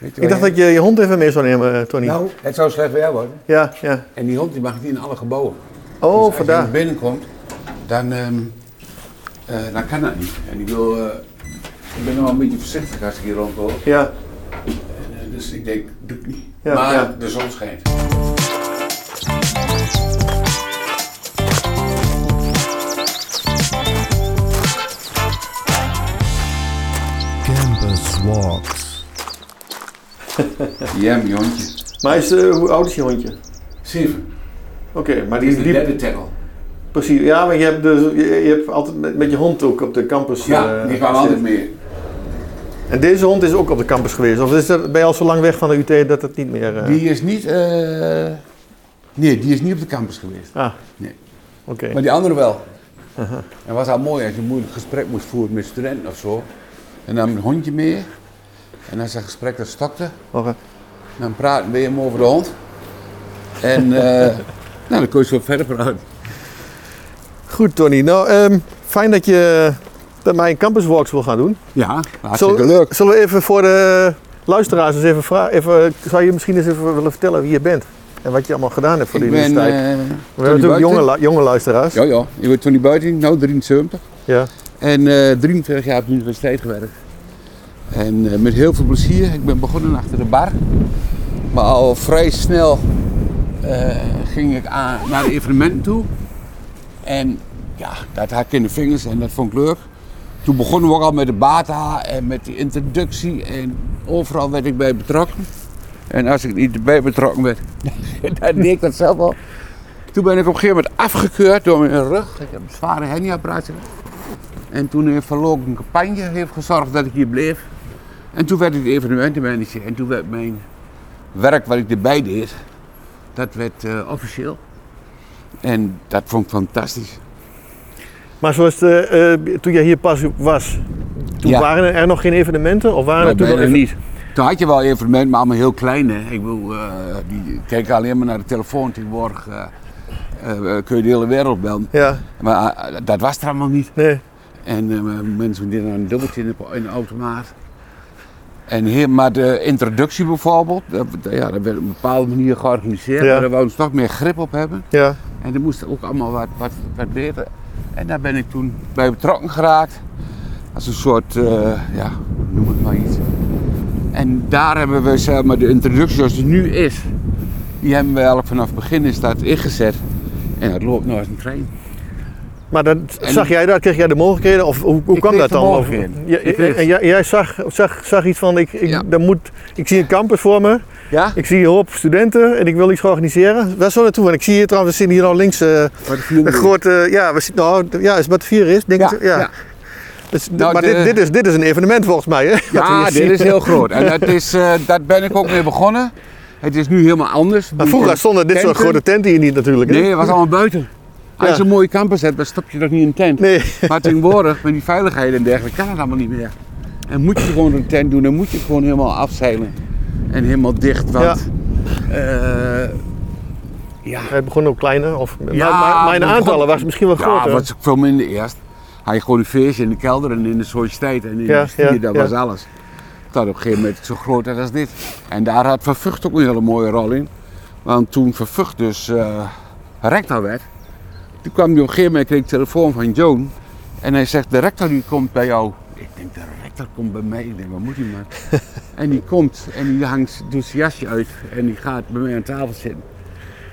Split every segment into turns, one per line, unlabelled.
Weet je
Ik
waar
dacht dat je je hond even mee zou nemen, eh, Tony.
Nou, het zou slecht weer worden.
Ja, ja.
En die hond die mag niet in alle gebouwen.
Oh,
dus als je
vandaar.
naar binnen komt, dan, ehm, eh, dan kan dat niet. En ik wil, eh, ik ben nog wel een beetje voorzichtig als ik hier rondloop.
Ja.
Eh, Dus ik denk, doe ik niet.
Ja,
maar
ja.
de zon schijnt.
Campus Walks.
Ja, mijn hondje.
Maar is, eh, hoe oud is je hondje?
Zeven.
Oké, maar
Die
die
is de
is diep.
derde tackle.
Precies. Ja, maar je hebt, dus, je, je hebt altijd met, met je hond ook op de campus.
Ja,
eh,
die kwam
gezeten.
altijd meer.
En deze hond is ook op de campus geweest. Of is er, ben je al zo lang weg van de UT dat het niet meer. eh,
Die is niet, eh, nee, die is niet op de campus geweest.
Ah,
Nee.
oké.
Maar die andere wel. En was al mooi als je een moeilijk gesprek moest voeren met studenten of zo. En dan een hondje mee. En als dat gesprek dat stokte,
Oké.
dan praten we hem over de hond. En eh, nou, dan kon je zo verder praten.
Goed, Tony. Nou, ehm, fijn dat je dat mij een campuswalks wil gaan doen.
Ja,
Zullen- Zullen we even voor de luisteraars eens even vragen? Even, zou je misschien eens even willen vertellen wie je bent? En wat je allemaal gedaan hebt voor de
Ik ben eh
universiteit? we hebben natuurlijk jonge,
Buiten.
lu- jonge luisteraars.
Ja, ja. Ik ben Tony Buiting, nou 73.
Ja.
En eh, 43 jaar op de universiteit gewerkt. En eh, met heel veel plezier. Ik ben begonnen achter de bar. Maar al vrij snel eh, ging ik aan, naar de evenementen toe. En ja, dat had ik in de vingers en dat vond ik leuk. Toen begonnen we ook al met de bata en met de introductie. En overal werd ik bij betrokken. En als ik niet bij betrokken werd, dan deed ik dat zelf al. Toen ben ik op een gegeven moment afgekeurd door mijn rug. Ik heb een zware hernia-operatie. En toen heeft Verloop een campagne heeft gezorgd dat ik hier bleef. En toen werd ik evenementenmanager. En toen werd mijn werk wat ik erbij deed, dat werd eh, officieel. En dat vond ik fantastisch.
Maar zoals de, eh, toen jij hier pas was, toen
Ja.
waren er nog geen evenementen? Of waren
Nee,
er toen nog
bijna
even-
niet. Toen had je wel evenementen, maar allemaal heel klein. Hè. Ik bedoel, eh, die keken alleen maar naar de telefoon tegenwoordig. eh, eh, kun je de hele wereld bellen.
Ja,
Maar eh, dat was er allemaal niet.
nee.
En eh, mensen deden dan een dubbeltje in de, in de automaat. En heel, maar de introductie bijvoorbeeld, dat, ja, dat werd op een bepaalde manier georganiseerd.
Ja.
maar Daar wouden ze toch meer grip op hebben.
Ja.
En er moest ook allemaal wat, wat, wat beter. En daar ben ik toen bij betrokken geraakt. Als een soort, eh, ja, noem het maar iets. En daar hebben we zeg maar, de introductie zoals die nu is, die hebben we eigenlijk vanaf het begin is dat ingezet. En dat loopt nou als een trein.
Maar dan zag jij daar, kreeg jij de mogelijkheden? Of hoe, hoe
Ik
kwam
kreeg
dat
de
dan? Of-
mogelijkheden.
Ja, eh,
Ik kreeg-
en jij, jij zag, zag, zag iets van, ik, ik,
Ja.
daar moet, ik zie een campus voor me,
Ja?
ik zie een hoop studenten en ik wil iets organiseren. Waar zo naartoe? En ik zie hier trouwens, we zitten hier nou links eh, een grote, ja, we zitten, nou, ja, is wat vier is, denk ik. Ja. Dus,
Nou,
maar
de-
dit, dit, is, dit is een evenement volgens mij, hè? Wat we
Ja,
hier
Ah, dit
zien.
is heel groot. En dat is, eh, daar ben ik ook mee begonnen. Het is nu helemaal anders.
Maar vroeger stonden dit soort
Tenten.
grote tenten hier niet natuurlijk. hè?
Nee, het was allemaal buiten. Als
Ja.
je een mooie campus hebt, dan stap je toch niet in een tent.
Nee.
Maar tegenwoordig, met die veiligheid en dergelijke, kan het allemaal niet meer. En moet je gewoon een tent doen, dan moet je het gewoon helemaal afzeilen. En helemaal dicht, want... eh, ja.
Het begon ook kleiner. Of,
Ja,
maar, maar, maar in
het
aantallen
begon-
was het misschien wel
Ja,
groter.
wat ik veel minder eerst. Hij gewoon een feestje in de kelder en in de sociëteit en in
Ja,
de stier,
ja,
dat
ja.
was alles. Dat op een gegeven moment zo groot werd als dit. En daar had Vervucht ook een hele mooie rol in. Want toen Vervucht dus eh, rector werd, toen kwam hij op een gegeven moment, kreeg ik telefoon van Joan. En hij zegt, de rector die komt bij jou. Ik denk, de rector komt bij mij. Ik denk, wat moet hij maar? en die komt en die hangt, doet zijn jasje uit en die gaat bij mij aan tafel zitten.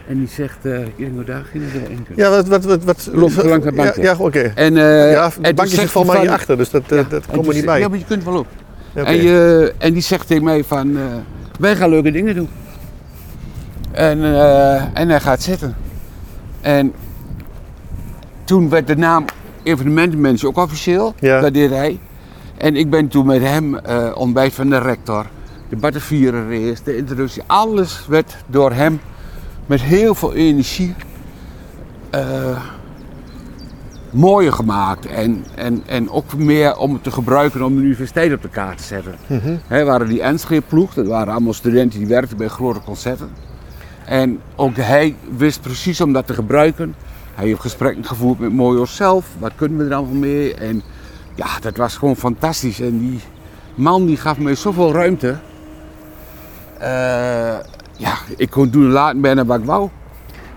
En die zegt, eh ik denk, daar ging het wel in kunnen.
ja, wat, wat, wat, wat
Loopt zo langs dat
Ja,
bankje.
Ja, oké.
En, eh en
Ja, het
toen
bankje zit
zegt
volgens
hij
mij
van-
hierachter, dus dat,
Ja,
dat, dat
en
komt
toen
er niet
zei-
bij.
Ja, maar je kunt wel op.
Oké.
En, je, en die zegt tegen mij van, eh, wij gaan leuke dingen doen. En, eh, en hij gaat zitten. En toen werd de naam evenementenmens ook officieel.
Ja.
Dat deed hij. En ik ben toen met hem eh, ontbijt van de rector, de Batavieren race, de introductie. Alles werd door hem met heel veel energie eh, mooier gemaakt. En, en, en ook meer om het te gebruiken om de universiteit op de kaart te zetten. Hè, waren die Enschede-ploeg, dat waren allemaal studenten die werkten bij grote concerten. En ook hij wist precies om dat te gebruiken. Hij heeft gesprekken gevoerd met Mojo zelf. Wat kunnen we er allemaal mee? En ja, dat was gewoon fantastisch. En die man die gaf mij zoveel ruimte. Eh, ja, ik kon doen en laten ben waar ik wou.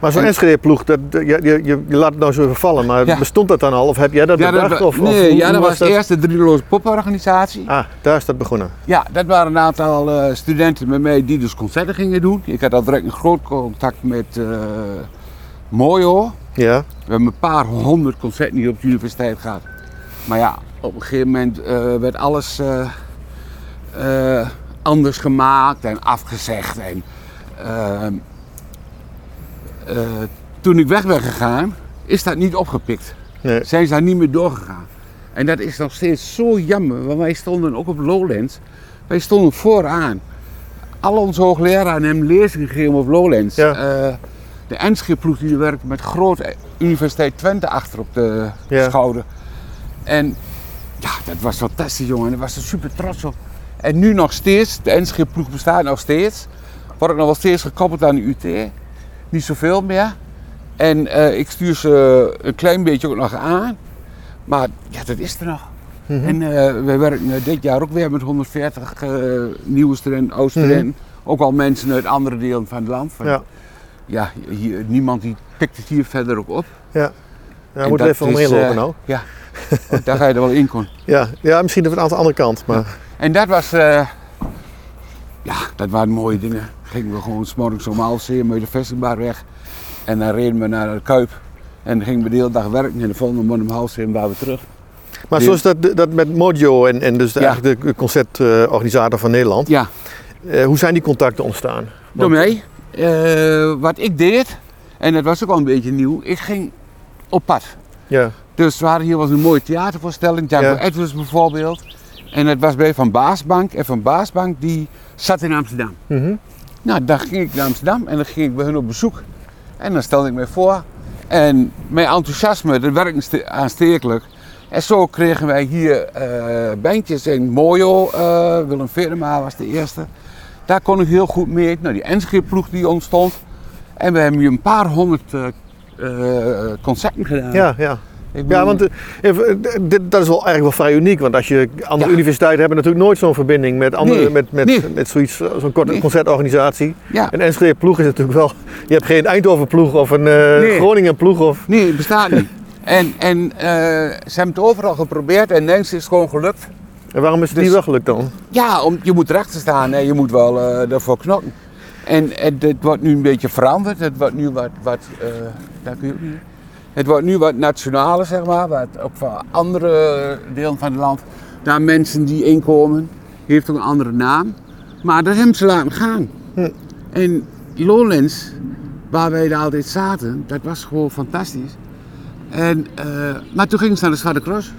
Maar zo'n
En-
Enschede-ploeg, dat, je, je, je laat het nou zo even vallen, maar
Ja.
bestond dat dan al? Of heb jij dat
Ja, dat,
bedacht?
wa-
of, of
nee,
hoe-
ja,
hoe
dat was de eerste drieloze poporganisatie.
Ah, daar is dat begonnen.
Ja, dat waren een aantal eh, studenten met mij die dus concerten gingen doen. Ik had al direct een groot contact met eh Mojo.
Ja,
We hebben een paar honderd concerten hier op de universiteit gehad. Maar ja, op een gegeven moment eh, werd alles eh, eh, anders gemaakt en afgezegd. En, ehm, eh, toen ik weg ben gegaan, is dat niet opgepikt.
nee.
Zijn ze daar niet meer doorgegaan. En dat is nog steeds zo jammer, want wij stonden ook op Lowlands. Wij stonden vooraan. Al onze hoogleraren hebben lezingen gegeven op Lowlands.
Ja.
Eh, de Enschede-ploeg die werkte met grote Universiteit Twente achter op de
Ja.
schouder. En ja, dat was fantastisch, jongen. Daar was ze super trots op. En nu nog steeds, de Enschede-ploeg bestaat nog steeds. Wordt ook nog wel steeds gekoppeld aan de UT. Niet zoveel meer. En eh, ik stuur ze een klein beetje ook nog aan. Maar ja, dat is er nog.
Mhm.
En eh, wij werken eh, dit jaar ook weer met 140 eh, nieuwe studenten, oud-studenten. Ook al mensen uit andere delen van het land. Van,
Mhm. Ja.
ja, hier, niemand die pikt het hier verder ook op.
Ja,
En
moet er
dat
even
is,
omheen lopen
eh,
nou.
Ja, Ook daar ga je er wel in komen.
Ja, ja, misschien even aan de andere kant, maar
En dat was, eh, ja, dat waren mooie dingen. Gingen we gewoon s'morgens om half zeer met de vestingbaar weg. En dan reden we naar de Kuip. En dan gingen we de hele dag werken en de volgende morgen om half zeer waren we terug.
Maar
Die-
zoals dat, dat met Mojo en, en dus de,
Ja.
eigenlijk de concertorganisator van Nederland.
Ja,
eh, hoe zijn die contacten ontstaan?
door
Want-
mij. eh, wat ik deed, en dat was ook al een beetje nieuw, ik ging op pad.
Ja,
Dus we hadden hier was een mooie theatervoorstelling, Django
Ja.
Edwards bijvoorbeeld. En dat was bij Van Baasbank. En Van Baasbank die zat in Amsterdam.
Mhm.
Nou, dan ging ik naar Amsterdam en dan ging ik bij hun op bezoek. En dan stelde ik mij voor. En mijn enthousiasme, dat werkte ste- aanstekelijk. En zo kregen wij hier eh bandjes in Mojo, eh, Willem Verma was de eerste. Daar kon ik heel goed mee. Nou, die Enschede-ploeg die ontstond. En we hebben hier een paar honderd eh, eh, concerten gedaan.
ja, ja.
Ik bedoel-
ja want eh, even, eh, dit, dat is wel eigenlijk wel vrij uniek. Want als je, andere
Ja.
universiteiten hebben natuurlijk nooit zo'n verbinding met, andere,
Nee,
met, met,
nee.
met zoiets, eh, zo'n korte
Nee.
concertorganisatie.
ja.
En Enschede ploeg is natuurlijk wel, je hebt geen Eindhoven ploeg of een eh,
Nee.
Groningen ploeg of...
Nee, het bestaat niet. En, en eh, ze hebben het overal geprobeerd en niks is gewoon gelukt.
En waarom is het
Dus-
niet wel gelukt dan?
Ja, om, je moet erachter staan en je moet wel eh daarvoor knokken. En, en dit wordt nu een beetje veranderd. Het wordt nu wat, wat eh, daar kun je ook niet. Het wordt nu wat nationaler, zeg maar. Wat ook van andere delen van het land. Daar mensen die inkomen. Heeft ook een andere naam. Maar dat hebben ze laten gaan. En Lowlands, waar wij daar altijd zaten, dat was gewoon fantastisch. En, eh, maar toen gingen ze naar de Zwarte Cross.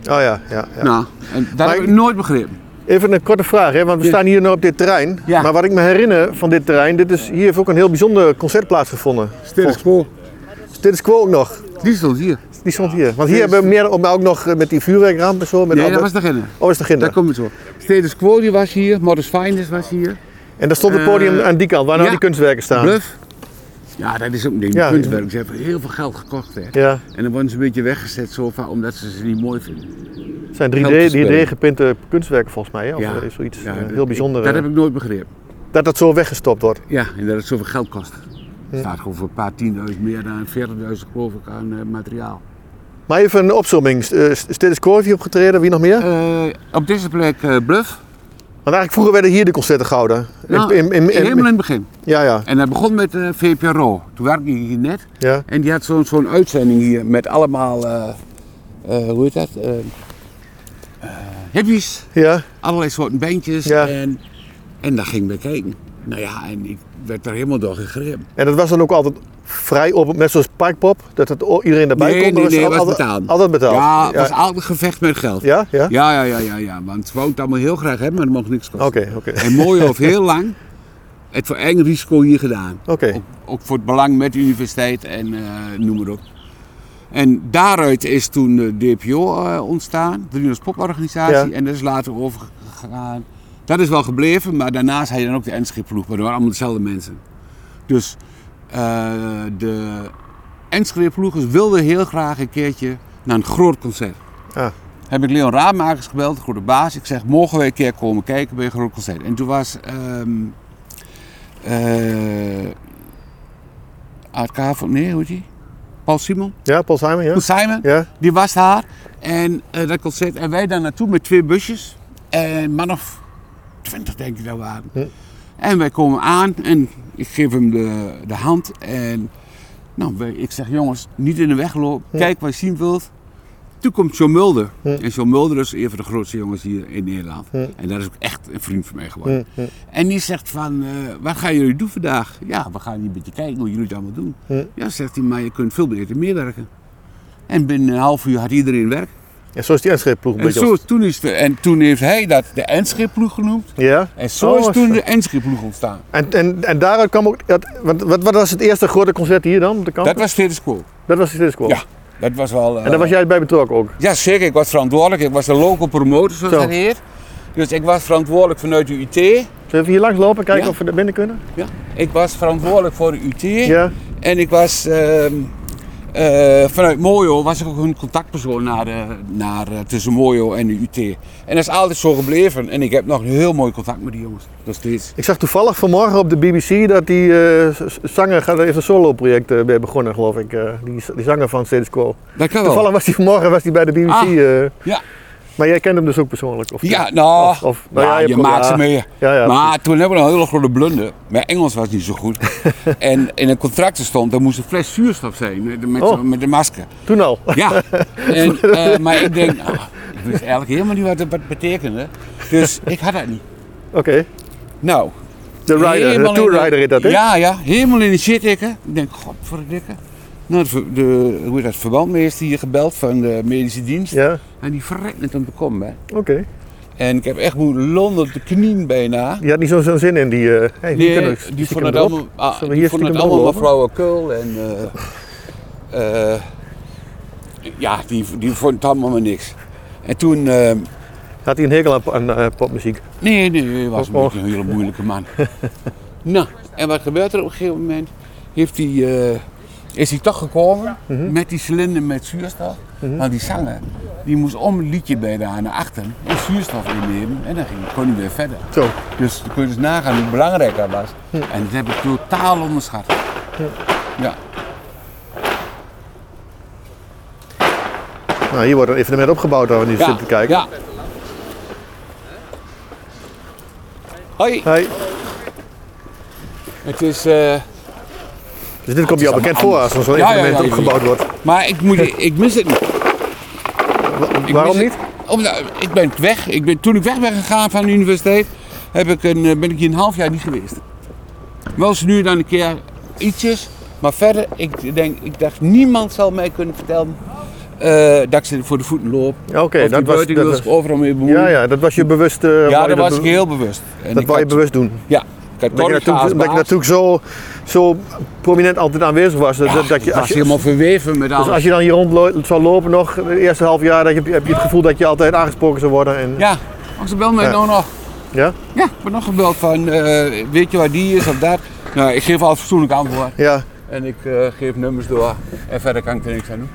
Oh ja, ja, ja.
Nou, en dat
Maar-
heb ik nooit begrepen.
Even een korte vraag, hè, want we
Ja.
staan hier nu op dit terrein.
Ja.
Maar wat ik me herinner van dit terrein, dit is, hier heeft ook een heel bijzonder concert plaatsgevonden. Dus
Sterkspoor.
Dit is Quo ook nog.
Die stond hier.
Die stond hier. Want hier hebben we meer, maar ook nog eh, met die vuurwerkramp en zo. Met
Nee,
alle-
dat was beginnen.
Oh, is de ginder.
Daar komt het zo. Status Quo die was hier, Modest Finest was hier.
En daar stond het podium
Eh,
aan die kant, waar nou
ja.
die kunstwerken staan.
Bluff. Ja, dat is ook een ding.
Ja,
kunstwerk. Ze hebben heel veel geld gekocht. Hè.
Ja,
En dan worden ze een beetje weggezet zo van, omdat ze ze niet mooi vinden.
het zijn
Geld
3D,
te spelen.
3D gepinte kunstwerken volgens mij. hè, Of
Ja.
eh, zoiets
Ja,
eh,
dat-
heel bijzonder.
Dat
eh,
heb ik nooit begrepen.
Dat dat zo weggestopt wordt.
Ja, en dat het zoveel geld kost. Het staat gewoon voor een paar tienduizend meer dan 40.000 geloof ik aan eh, materiaal.
Maar even een opzomming. S- eh, Status Quo heeft hier opgetreden, wie nog meer?
Eh, op deze plek eh, Bluff.
Want eigenlijk vroeger werden hier de concerten gehouden.
Nou,
In- in- in- in-
helemaal in het begin.
ja, ja,
En dat begon met eh VPRO. Toen werkte ik hier net.
ja.
En die had zo'n zo'n uitzending hier met allemaal, eh, eh, hoe heet dat? Eh eh, hippies,
ja.
allerlei soorten bandjes.
Ja.
En, en daar ging ik bij kijken. Nou ja, en ik werd daar helemaal door gegrepen.
En dat was dan ook altijd vrij op, net zoals Parkpop, dat het o- iedereen erbij
Nee,
kon. maar
nee, nee,
al-
was
altijd
betaald.
Altijd betaald.
Ja, het was
ja.
altijd gevecht met geld.
Ja? Ja?
Ja, ja, ja, ja, ja. Want ze wou het allemaal heel graag hebben, maar dat mocht niks kosten.
Oké, oké.
En mooi of heel lang, het voor eng risico hier gedaan.
Oké.
Ook, ook voor het belang met de universiteit en eh, noem maar op. En daaruit is toen de DPO eh, ontstaan, de Nederlandse Poporganisatie.
Ja.
En dat is later overgegaan. Dat is wel gebleven, maar daarnaast had je dan ook de Enschede-ploeg. Maar dat waren allemaal dezelfde mensen. Dus eh, de Enschede-ploegers wilden heel graag een keertje naar een groot concert.
Ah.
Heb ik Leon Raadmakers gebeld, de goede baas. Ik zeg, mogen we een keer komen kijken bij een groot concert? En toen was ehm, eh ARK, nee, hoe heet die? Paul Simon.
Ja, Paul Simon, ja.
Paul Simon,
Ja,
die was daar. En eh, dat concert. En wij daar naartoe met twee busjes. En man of twintig denk ik dat waren.
Ja.
En wij komen aan en ik geef hem de, de hand. En nou, wij- ik zeg jongens, niet in de weg lopen.
Ja.
Kijk wat je zien wilt. Toen komt John Mulder.
Ja.
En John Mulder is een van de grootste jongens hier in Nederland.
Ja.
En dat is ook echt een vriend van mij geworden.
Hm, hm.
En die zegt van, eh, wat gaan jullie doen vandaag? Ja, we gaan hier een beetje kijken hoe jullie het allemaal doen.
Hm.
Ja, zegt hij, maar je kunt veel beter meewerken. En binnen een half uur had iedereen werk.
En zo is die Enschede-ploeg een
En,
beetje.
zo, is- toen is de, en toen heeft hij dat de Enschede-ploeg genoemd.
ont- Ja.
En zo
Oh,
is
was
toen
dat.
de Enschede-ploeg ontstaan.
En, en, en daaruit kwam ook. Dat, wat, wat, wat was het eerste grote concert hier dan? Op de
Dat
campus?
was Status Quo.
Dat was de Status Quo.
Ja, dat was wel... eh,
En daar was jij bij betrokken ook.
Ja, zeker. Ik was verantwoordelijk. Ik was de local promotor, zoals
Zo.
dat heet. Dus ik was verantwoordelijk vanuit de UT.
Zullen we even hier langs lopen en kijken
Ja.
of we er binnen kunnen?
Ja. Ik was verantwoordelijk voor de UT.
Ja.
En ik was ehm, eh, vanuit Mojo was ik ook hun contactpersoon naar de, naar, eh, tussen Mojo en de UT. En dat is altijd zo gebleven. En ik heb nog een heel mooi contact met die jongens. Nog steeds.
Ik zag toevallig vanmorgen op de BBC dat die eh, z- z- zanger gaat even een solo-project eh, bij begonnen, geloof ik. eh, die, z- die zanger van Status Quo.
Dat kan wel.
Toevallig was hij vanmorgen was die bij de BBC.
Oh. Ah.
eh,
Ja,
maar jij kent hem dus ook persoonlijk? Of,
ja nou,
Of, of- nou
ja,
ja, je
je
hebt-
maakt
ja.
ze mee.
Ja, ja,
maar toen hebben we een hele grote blunder. Mijn Engels was niet zo goed. en in een contract stond, er moest een fles zuurstof zijn met, met,
Oh.
met de masker.
Toen al.
Ja, en, eh, maar ik denk, nou, ik wist eigenlijk helemaal niet wat het betekende. Dus ik had dat niet.
Oké.
Nou,
De rider, de
helemaal in
tour rider heet dat, hè?
Ja, ja, helemaal in de shit tikken. Ik denk, godverdikke. Nou, de, ver- de, hoe heet dat, verbandmeester hier gebeld van de medische dienst.
Ja,
En die verrekt net om te komen, hè.
oké.
En ik heb echt moeten londen op de knieën bijna.
Die had niet zo'n zo'n zin in die... eh hey,
Die,
hier kunnen we
die
stiekem
vonden het
erop.
allemaal, ah,
Zullen we
die
hier
vonden het
stiekem
allemaal maar
doorlopen?
flauwekul en... eh, eh, ja, die, die vonden het allemaal maar niks. En toen... eh,
Had hij een hekel aan, aan eh, popmuziek?
Nee, nee, hij was een
Oh, oh.
beetje een hele moeilijke man. nou, en wat gebeurt er op een gegeven moment? Heeft hij, eh, is hij toch gekomen
Mhm.
met die cilinder met zuurstof. Want die zanger die moest om een liedje bij de naar achteren en zuurstof innemen. En dan ging, kon hij weer verder.
Zo.
Dus dan kun je dus nagaan hoe belangrijk dat was. En dat heb ik totaal onderschat. Ja.
Nou, hier wordt een evenement opgebouwd waar we nu zitten te kijken.
Ja. Hoi,
Hoi.
het is... eh,
Dus dit komt je al
allemaal
bekend voor als er zo'n
Ja, ja,
evenement
ja, ja, ja.
opgebouwd wordt.
maar ik, moet, ik mis het niet.
Wa-
Ik
Waarom
mis-
niet?
Omdat- ik ben weg. Ik ben, toen ik weg ben gegaan van de universiteit, heb ik een, eh, ben ik hier een half jaar niet geweest. Wel eens nu en dan een keer ietsjes. Maar verder, ik, denk, ik dacht, niemand zal mij kunnen vertellen eh, dat ik ze voor de voeten loop.
Ja, Oké,
of die
dat was...
buiten
dat
wil
was-
zich overal mee bemoeien.
ja, ja, dat was je bewust... eh,
Ja,
wou je
daar was ik
be-
heel bewust. En
Dat
ik
wou je
had-
bewust doen.
Ja. Ik had
Dat je
Torka als
natuurlijk, dat je
baas.
natuurlijk zo, zo prominent altijd aanwezig was. Dat,
Ja,
dat, dat
ik
je, als
was
je,
helemaal verweven met alles.
dus als je dan hier rond lo- zou lopen nog, het eerste half jaar, dan heb je, heb je het gevoel dat je altijd aangesproken zou worden. En,
Ja, oh, ze bel mij
Ja.
nou nog.
ja?
Ja, ik word nog gebeld van, eh, weet je waar die is of dat. Nou, ik geef altijd fatsoenlijk antwoord.
Ja.
En ik eh, geef nummers door. En verder kan ik er niks aan doen.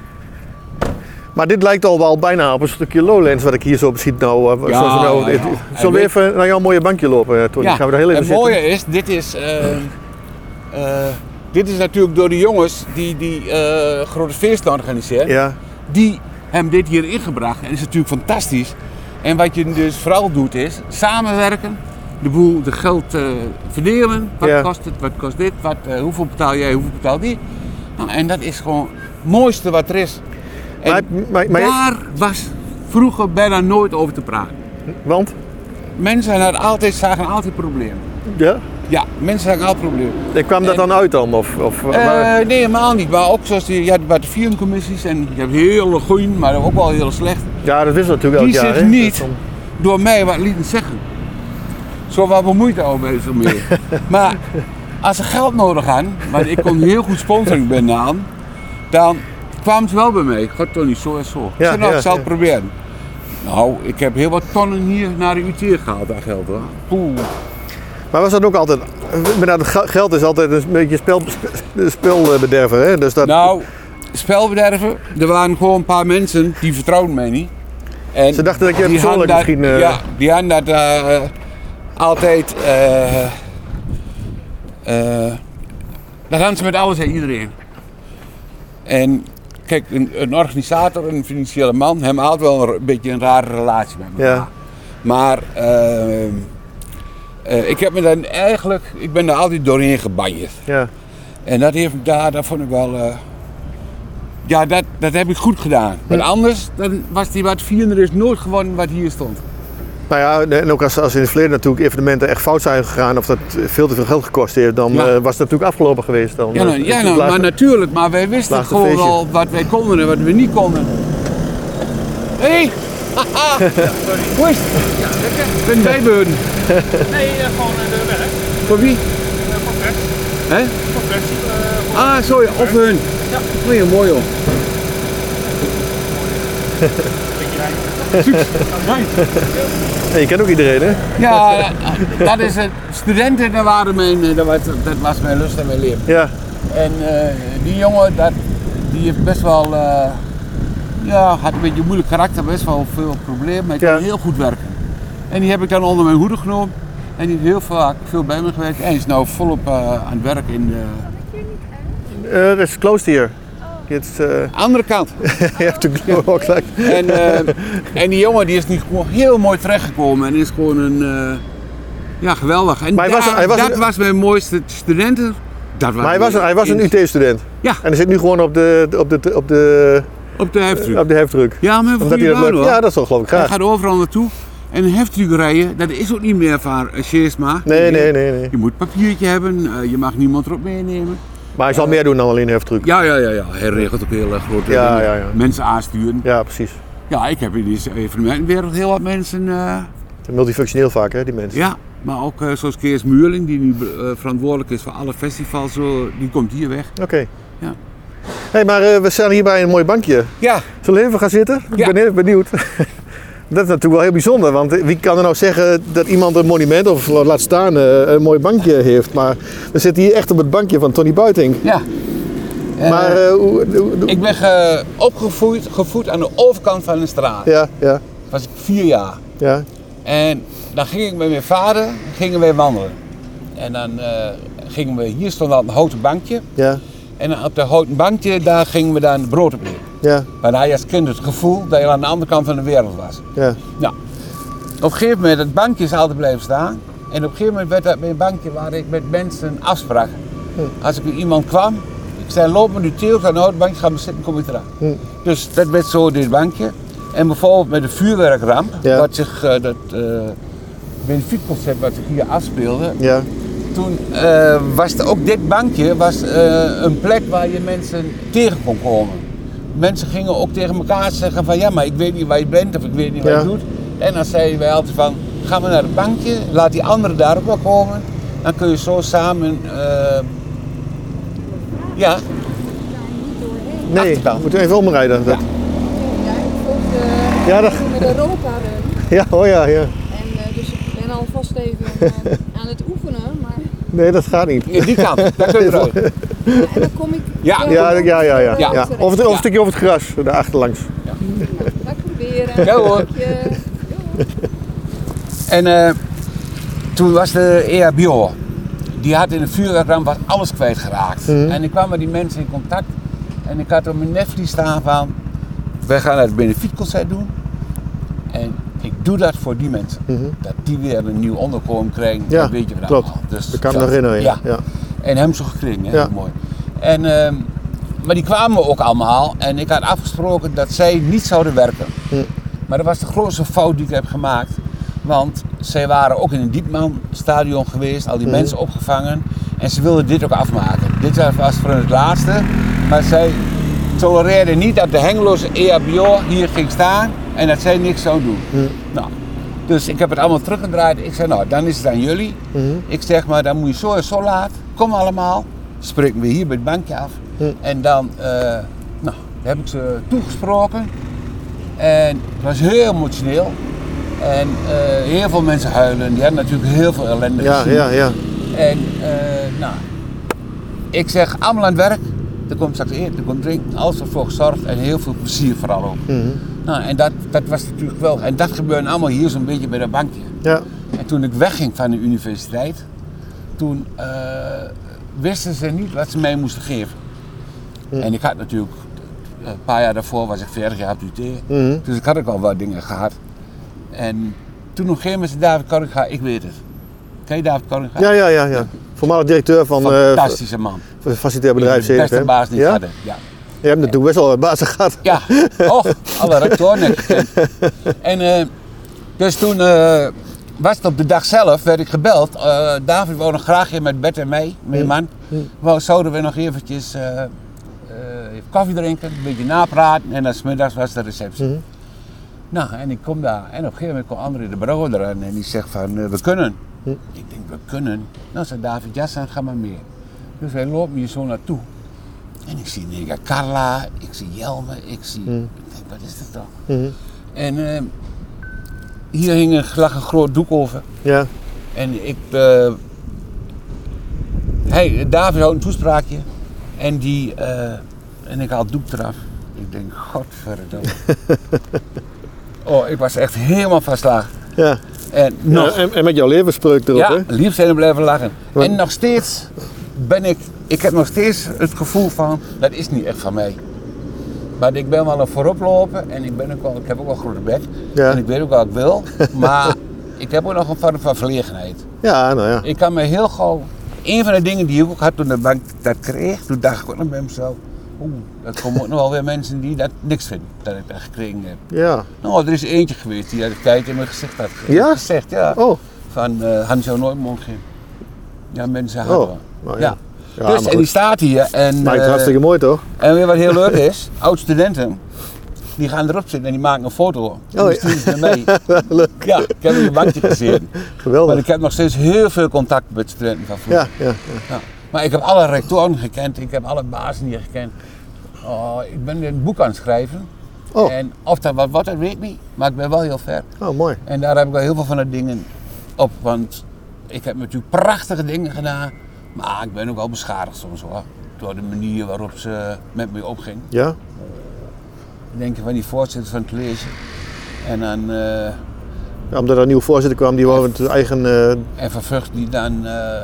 Maar dit lijkt al wel bijna op een stukje Lowlands wat ik hier zo ziet. Nou, eh,
Ja,
zoals we nou,
ja, ja.
Zullen we even naar jouw mooie bankje lopen, eh, Tony? Gaan we daar heel even
het
zitten?
mooie is, dit is, eh, eh, dit is natuurlijk door de jongens die die eh, grote feesten organiseren.
Ja,
Die hebben dit hier ingebracht. En dat is natuurlijk fantastisch. En wat je dus vooral doet is samenwerken. De boel, de geld eh, verdelen. Wat
Ja.
kost het, wat kost dit, wat, eh, hoeveel betaal jij, hoeveel betaalt die. Nou, en dat is gewoon het mooiste wat er is. En
Maar- maar- maar-
daar was vroeger bijna nooit over te praten.
want?
Mensen hadden altijd, zagen altijd problemen.
Ja?
Ja, mensen zagen altijd problemen.
En kwam dat
En-
dan uit dan? Of, of,
Eh,
waar-
nee, helemaal niet. Maar ook zoals die, je had bij de filmcommissies en je hebt hele goeie, maar ook wel heel slecht.
ja, dat is natuurlijk elk
Die
jaar.
zich
hè?
niet
Dat is dan-
door mij wat lieten zeggen. Zo wat bemoeit al veel meer. maar als ze geld nodig hadden, want ik kon heel goed sponsoring binnen aan, dan kwamen ze wel bij mij. God Tony, zo en zo.
Ja,
ik zei, nou,
ja,
ik zal het
ja.
proberen. Nou, ik heb heel wat tonnen hier naar de UT gehaald aan geld hoor. Poeh.
Maar was dat ook altijd... Maar dat ge- geld is altijd een beetje spel, sp- spelbederver, hè? Dus dat,
Nou, spelbederven. Er waren gewoon een paar mensen die vertrouwden mij niet. En
Ze dachten dat je
die
persoonlijk
hadden dat-
misschien, eh,
Ja, die hadden dat eh, altijd eh, Eh dat hangt ze met alles en iedereen. En kijk, een, een organisator, een financiële man, hem houdt wel een, r- beetje een rare relatie met me.
Ja.
Maar eh, eh, ik heb me dan eigenlijk, ik ben daar altijd doorheen gebanjerd.
Ja.
En dat heeft me daar, dat vond ik wel. eh, ja, dat, dat heb ik goed gedaan. Want anders dan was die wat vierder is nooit gewonnen wat hier stond.
Nou ja, en ook als, als in het verleden natuurlijk evenementen echt fout zijn gegaan of dat veel te veel geld gekost heeft, dan
Ja.
eh, was het natuurlijk afgelopen geweest. Dan,
Ja,
Eh,
nou, ja
het
nou,
laatste-
maar natuurlijk, maar wij wisten
laatste
gewoon
feestje.
al wat wij konden en wat we niet konden. Hé! Hey. Haha. Hoe is het?
Ja, lekker.
Ik ben bijbeurden.
Nee, eh, gewoon eh, de werk.
Voor wie?
Eh, Voor Fred.
Hè?
Voor Fred. eh, voor-
Ah, sorry, of hun.
Ja.
Oh ja, mooi hoor.
Beetje rijden.
Ja, je kent ook iedereen, hè?
Ja, eh, dat is het. Studenten, dat, waren mijn, eh, dat, was, dat was mijn lust en mijn leven.
Ja.
En eh, die jongen, dat, die heeft best wel, eh, ja, had een beetje een moeilijk karakter, best wel veel problemen, maar hij
Ja.
kon heel goed werken. En die heb ik dan onder mijn hoede genomen en die heeft heel vaak veel bij me gewerkt en is nou volop eh, aan het werk in de
Eh, dat is closed hier. Dit is, eh,
andere kant.
je hebt natuurlijk ook gelijk.
En, eh, en die jongen die is nu gewoon heel mooi terechtgekomen en is gewoon een, eh, ja, geweldig. En
Maar hij was-
daar-
hij was-
dat was mijn mooiste studenten. Dat
Maar hij was, een- hij was een UT-student.
Ja.
En hij zit nu gewoon op de, op de, op de,
Op de heftruk.
op de hefdruk.
ja, maar voor
Omdat hij
je
dat leuk
hoor.
Ja, dat zal geloof ik
Hij
graag.
gaat overal naartoe. En een heftruck rijden, dat is ook niet meer van eh, cheers maar.
Nee, nee, nee. nee.
Je moet papiertje hebben, eh, je mag niemand erop meenemen.
Maar hij zal
Eh,
meer doen dan alleen hefdruk.
Ja, ja, ja, ja. hij regelt ook heel eh, grote
Ja,
dingen.
ja, ja.
mensen aansturen.
Ja, precies.
Ja, ik heb in deze evenementenwereld heel wat mensen. eh,
Multifunctioneel vaak, hè, die mensen.
ja, maar ook eh, zoals Kees Muurling, die nu eh, verantwoordelijk is voor alle festivals, zo, die komt hier weg.
Oké.
Ja.
hey, maar eh, we staan hier bij een mooi bankje.
Ja,
Zullen we even gaan zitten?
Ja.
Ik ben heel benieuwd. Dat is natuurlijk wel heel bijzonder, want wie kan er nou zeggen dat iemand een monument of laat staan eh, een mooi bankje heeft. Maar we zitten hier echt op het bankje van Tony Buiting.
ja.
Maar eh, hoe, hoe- hoe-
ik ben ge- opgevoed gevoed aan de overkant van de straat.
ja, ja,
Was ik vier jaar.
ja,
En dan ging ik met mijn vader gingen we wandelen. En dan eh, gingen we, hier stond al een houten bankje.
ja,
En op dat houten bankje, daar gingen we dan brood op eten.
ja,
Maar dan had je als kind het gevoel dat je aan de andere kant van de wereld was.
ja.
Nou, op een gegeven moment, het bankje is altijd blijven staan. En op een gegeven moment werd dat mijn bankje waar ik met mensen afsprak.
Hm.
Als ik met iemand kwam, ik zei loop maar nu teelt aan het houten bankje, ga maar zitten, kom ik eraan.
Hm.
Dus dat werd zo dit bankje. En bijvoorbeeld met de vuurwerkramp,
Ja.
wat zich, eh, dat eh benefietconcept wat zich hier afspeelde.
ja.
Toen eh, was er ook dit bankje was, eh, een plek waar je mensen tegen kon komen. Mensen gingen ook tegen elkaar zeggen van ja, maar ik weet niet waar je bent of ik weet niet wat
Ja.
je doet. En dan zeiden wij altijd van, ga maar naar het bankje, laat die anderen daar ook wel komen. Dan kun je zo samen, eh, ja,
Nee, we
Achterkant.
moeten even omrijden. Dat-
Ja, ik volg de,
Ja, dat-
met Europa Run.
Ja, oh ja, ja.
En eh, dus ik ben alvast even eh, aan het oefenen. Maar
Nee, dat gaat niet.
die kant, daar kun je eruit.
ja, en dan kom ik.
Ja.
Ja, ja,
dan-
ja, ja. ja.
dan-
ja.
terecht.
Of, het, of een
Ja.
stukje over het gras, daar achterlangs.
Nou, Ga ik proberen.
Ja, hoor.
Dank je. Doei.
En eh, toen was de EHBO. Die had in de vuurwerkramp was alles kwijtgeraakt.
Mhm.
En ik kwam met die mensen in contact. En ik had op mijn netvlies staan van... Wij gaan het benefietconcert doen. En ik doe dat voor die mensen. Dat die weer een nieuw onderkomen krijgen.
Mhm. Ja,
dat weet je van
klopt.
allemaal. Dus
Dat kan ik me
dat-
herinneren. Ja.
ja.
Ja.
En hem zo gekregen, heel
Ja.
mooi. En, ehm, maar die kwamen ook allemaal en ik had afgesproken dat zij niet zouden werken. Maar dat was de grootste fout die ik heb gemaakt. Want zij waren ook in een Diepman-stadion geweest, al die mensen opgevangen. En ze wilden dit ook afmaken. Dit was voor hun het laatste. Maar zij tolereerden niet dat de Hengeloze E EHBO hier ging staan en dat zij niks zou doen. Nou, dus ik heb het allemaal teruggedraaid. Ik zei, nou, dan is het aan jullie. Ik zeg maar, dan moet je zo en zo laat. Kom allemaal. Spreken we hier bij het bankje af. En dan eh, nou, heb ik ze toegesproken. En het was heel emotioneel. En eh, heel veel mensen huilen. Die hadden natuurlijk heel veel ellende
Ja,
gezien.
ja, ja.
En eh, nou, ik zeg allemaal aan het werk. Er komt straks eten, er komt drinken, alles wordt voor gezorgd en heel veel plezier vooral ook. Nou, en dat, dat was natuurlijk wel. En dat gebeurde allemaal hier zo'n beetje bij dat bankje.
Ja,
En toen ik wegging van de universiteit, toen eh, wisten ze niet wat ze mee moesten geven. En ik had natuurlijk, eh, een paar jaar daarvoor was ik 40 jaar op UT. Dus ik had ook al wat dingen gehad. En toen op een gegeven moment zei David Korringa, ik weet het. Ken je David Korringa?
Ja, ja, ja. ja. Voormalig directeur van eh
Fantastische man.
facilitair bedrijf
de beste baas die ik
ja?
hadden. Ja.
Je hebt natuurlijk best wel wat bazen gehad.
Ja, och, alle rectoren heb ik gekend. En eh, dus toen eh, was het op de dag zelf, werd ik gebeld. Eh, David wou nog graag hier met Bert en mij, mijn man. Wou, zouden we nog eventjes eh, eh, even koffie drinken, een beetje napraten. En dan 's middags was de receptie.
Mhm.
Nou, en ik kom daar. En op een gegeven moment komt André de Brouwer eraan en die zegt van, eh, we kunnen. Ik denk, we kunnen? Nou, zei David, ja, dan ga maar mee. Dus hij loopt me hier zo naartoe. En ik zie Nega Carla, ik zie Jelme, ik zie... Ik denk, wat is dat dan? En eh, hier hing een, lag een groot doek over.
Ja.
En ik... eh, hey, David houdt een toespraakje. En die... eh, en ik haal het doek eraf. Ik denk, godverdomme. oh, ik was echt helemaal van slag.
ja.
En nog...
Ja, en, en met jouw levenspreuk erop, hè?
Ja, lief zijn en blijven lachen.
Want-
En nog steeds ben ik, ik heb nog steeds het gevoel van, dat is niet echt van mij. Maar ik ben wel een vooroploper en ik, ben ook wel, ik heb ook wel een grote bek.
Ja.
En ik weet ook wat ik wil. Maar ik heb ook nog een vorm van verlegenheid.
Ja, nou ja.
Ik kan me heel gauw... Een van de dingen die ik ook had toen de bank dat kreeg, toen dacht ik ook nog bij mezelf... Oeh, er komen ook nog wel weer mensen die dat niks vinden, dat ik dat gekregen heb.
Ja.
Nou, er is eentje geweest die dat kijk in mijn gezicht had ge-
Ja?
gezegd. Ja
Oh.
van eh Hans Jan Noordmongen. Ja, mensen hadden.
Oh,
wel.
nou
ja.
ja. Ja,
dus,
maar
en die
goed.
staat hier. En,
Maakt
eh,
het hartstikke mooi, toch?
en weer wat heel leuk is, oud-studenten, die gaan erop zitten en die maken een foto. En die
Oh, ja.
sturen ze mee. Ja, ik heb een bankje gezien. Maar
Geweldig.
ik heb nog steeds heel veel contact met studenten van vroeger.
Ja, ja.
Ja. Maar ik heb alle rectoren gekend, ik heb alle bazen hier gekend. Oh, ik ben een boek aan het schrijven.
Oh.
En of dat wat wordt, dat weet ik niet. Maar ik ben wel heel ver.
Oh, mooi.
En daar heb ik wel heel veel van de dingen op. Want ik heb natuurlijk prachtige dingen gedaan. Maar ik ben ook wel beschadigd soms hoor. Door de manier waarop ze met me opging.
Ja?
Ik Denk van die voorzitter van het college. En dan eh
Ja, omdat er een nieuwe voorzitter kwam, die wou met zijn eigen... eh,
en van Vught die dan eh,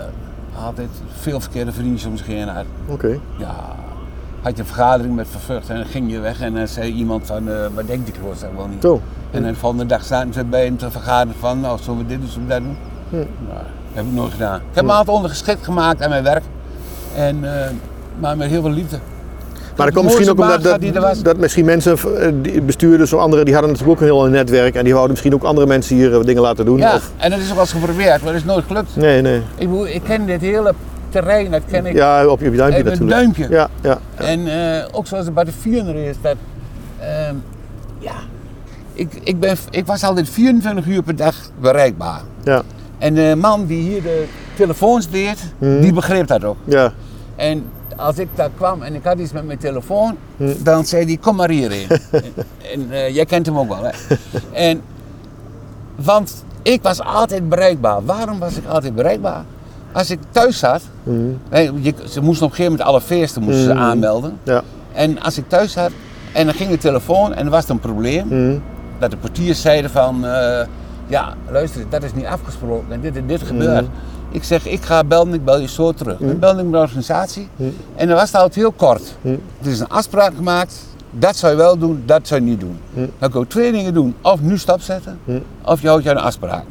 altijd veel verkeerde vriendjes om zich heen had.
Oké.
Ja, had je een vergadering met Van Vught en dan ging je weg en dan zei iemand van, eh wat denkt die klootzak wel niet?
Zo.
En dan de volgende dag zaten ze bij hem te vergaderen van, nou, zullen we dit doen, zullen we dat doen? Nou, dat heb ik nooit gedaan. Ik heb me altijd ondergeschikt gemaakt aan mijn werk. En, eh, maar met heel veel liefde.
Maar dat
de
komt misschien ook
mooiste
omdat
baan
dat,
gaat die er was.
dat misschien mensen, eh, die bestuurders of anderen, die hadden natuurlijk ook een heel netwerk. En die wouden misschien ook andere mensen hier eh, dingen laten doen.
Ja,
Of,
en dat is ook wel eens geprobeerd, maar dat is nooit gelukt.
nee, nee.
Ik, bedoel, ik ken dit hele terrein, dat ken ik.
Ja, op je duimpje
Even een
natuurlijk.
duimpje.
Ja, ja.
En eh, ook zoals het bij de vierder is, dat... ehm, ja, ik, ik, ben, ik was altijd 24 uur per dag bereikbaar.
Ja,
En de man die hier de telefoons deed, die begreep dat ook.
ja.
En als ik daar kwam en ik had iets met mijn telefoon, dan zei hij, kom maar hierheen. en eh, jij kent hem ook wel, hè. en, want ik was altijd bereikbaar. Waarom was ik altijd bereikbaar? Als ik thuis zat, hè, je, ze moesten op een gegeven moment alle feesten moesten ze aanmelden.
ja.
En als ik thuis zat en dan ging de telefoon en er was het een probleem, dat de portiers zeiden van, eh, ja luister, dat is niet afgesproken en dit en dit gebeurt. Ik zeg, ik ga bellen, ik bel je zo terug. Dan belde ik mijn organisatie en dan was het altijd heel kort. Er is een afspraak gemaakt, dat zou je wel doen, dat zou je niet doen. Dan kun je twee dingen doen, of nu stap zetten, of je houdt je aan de afspraak.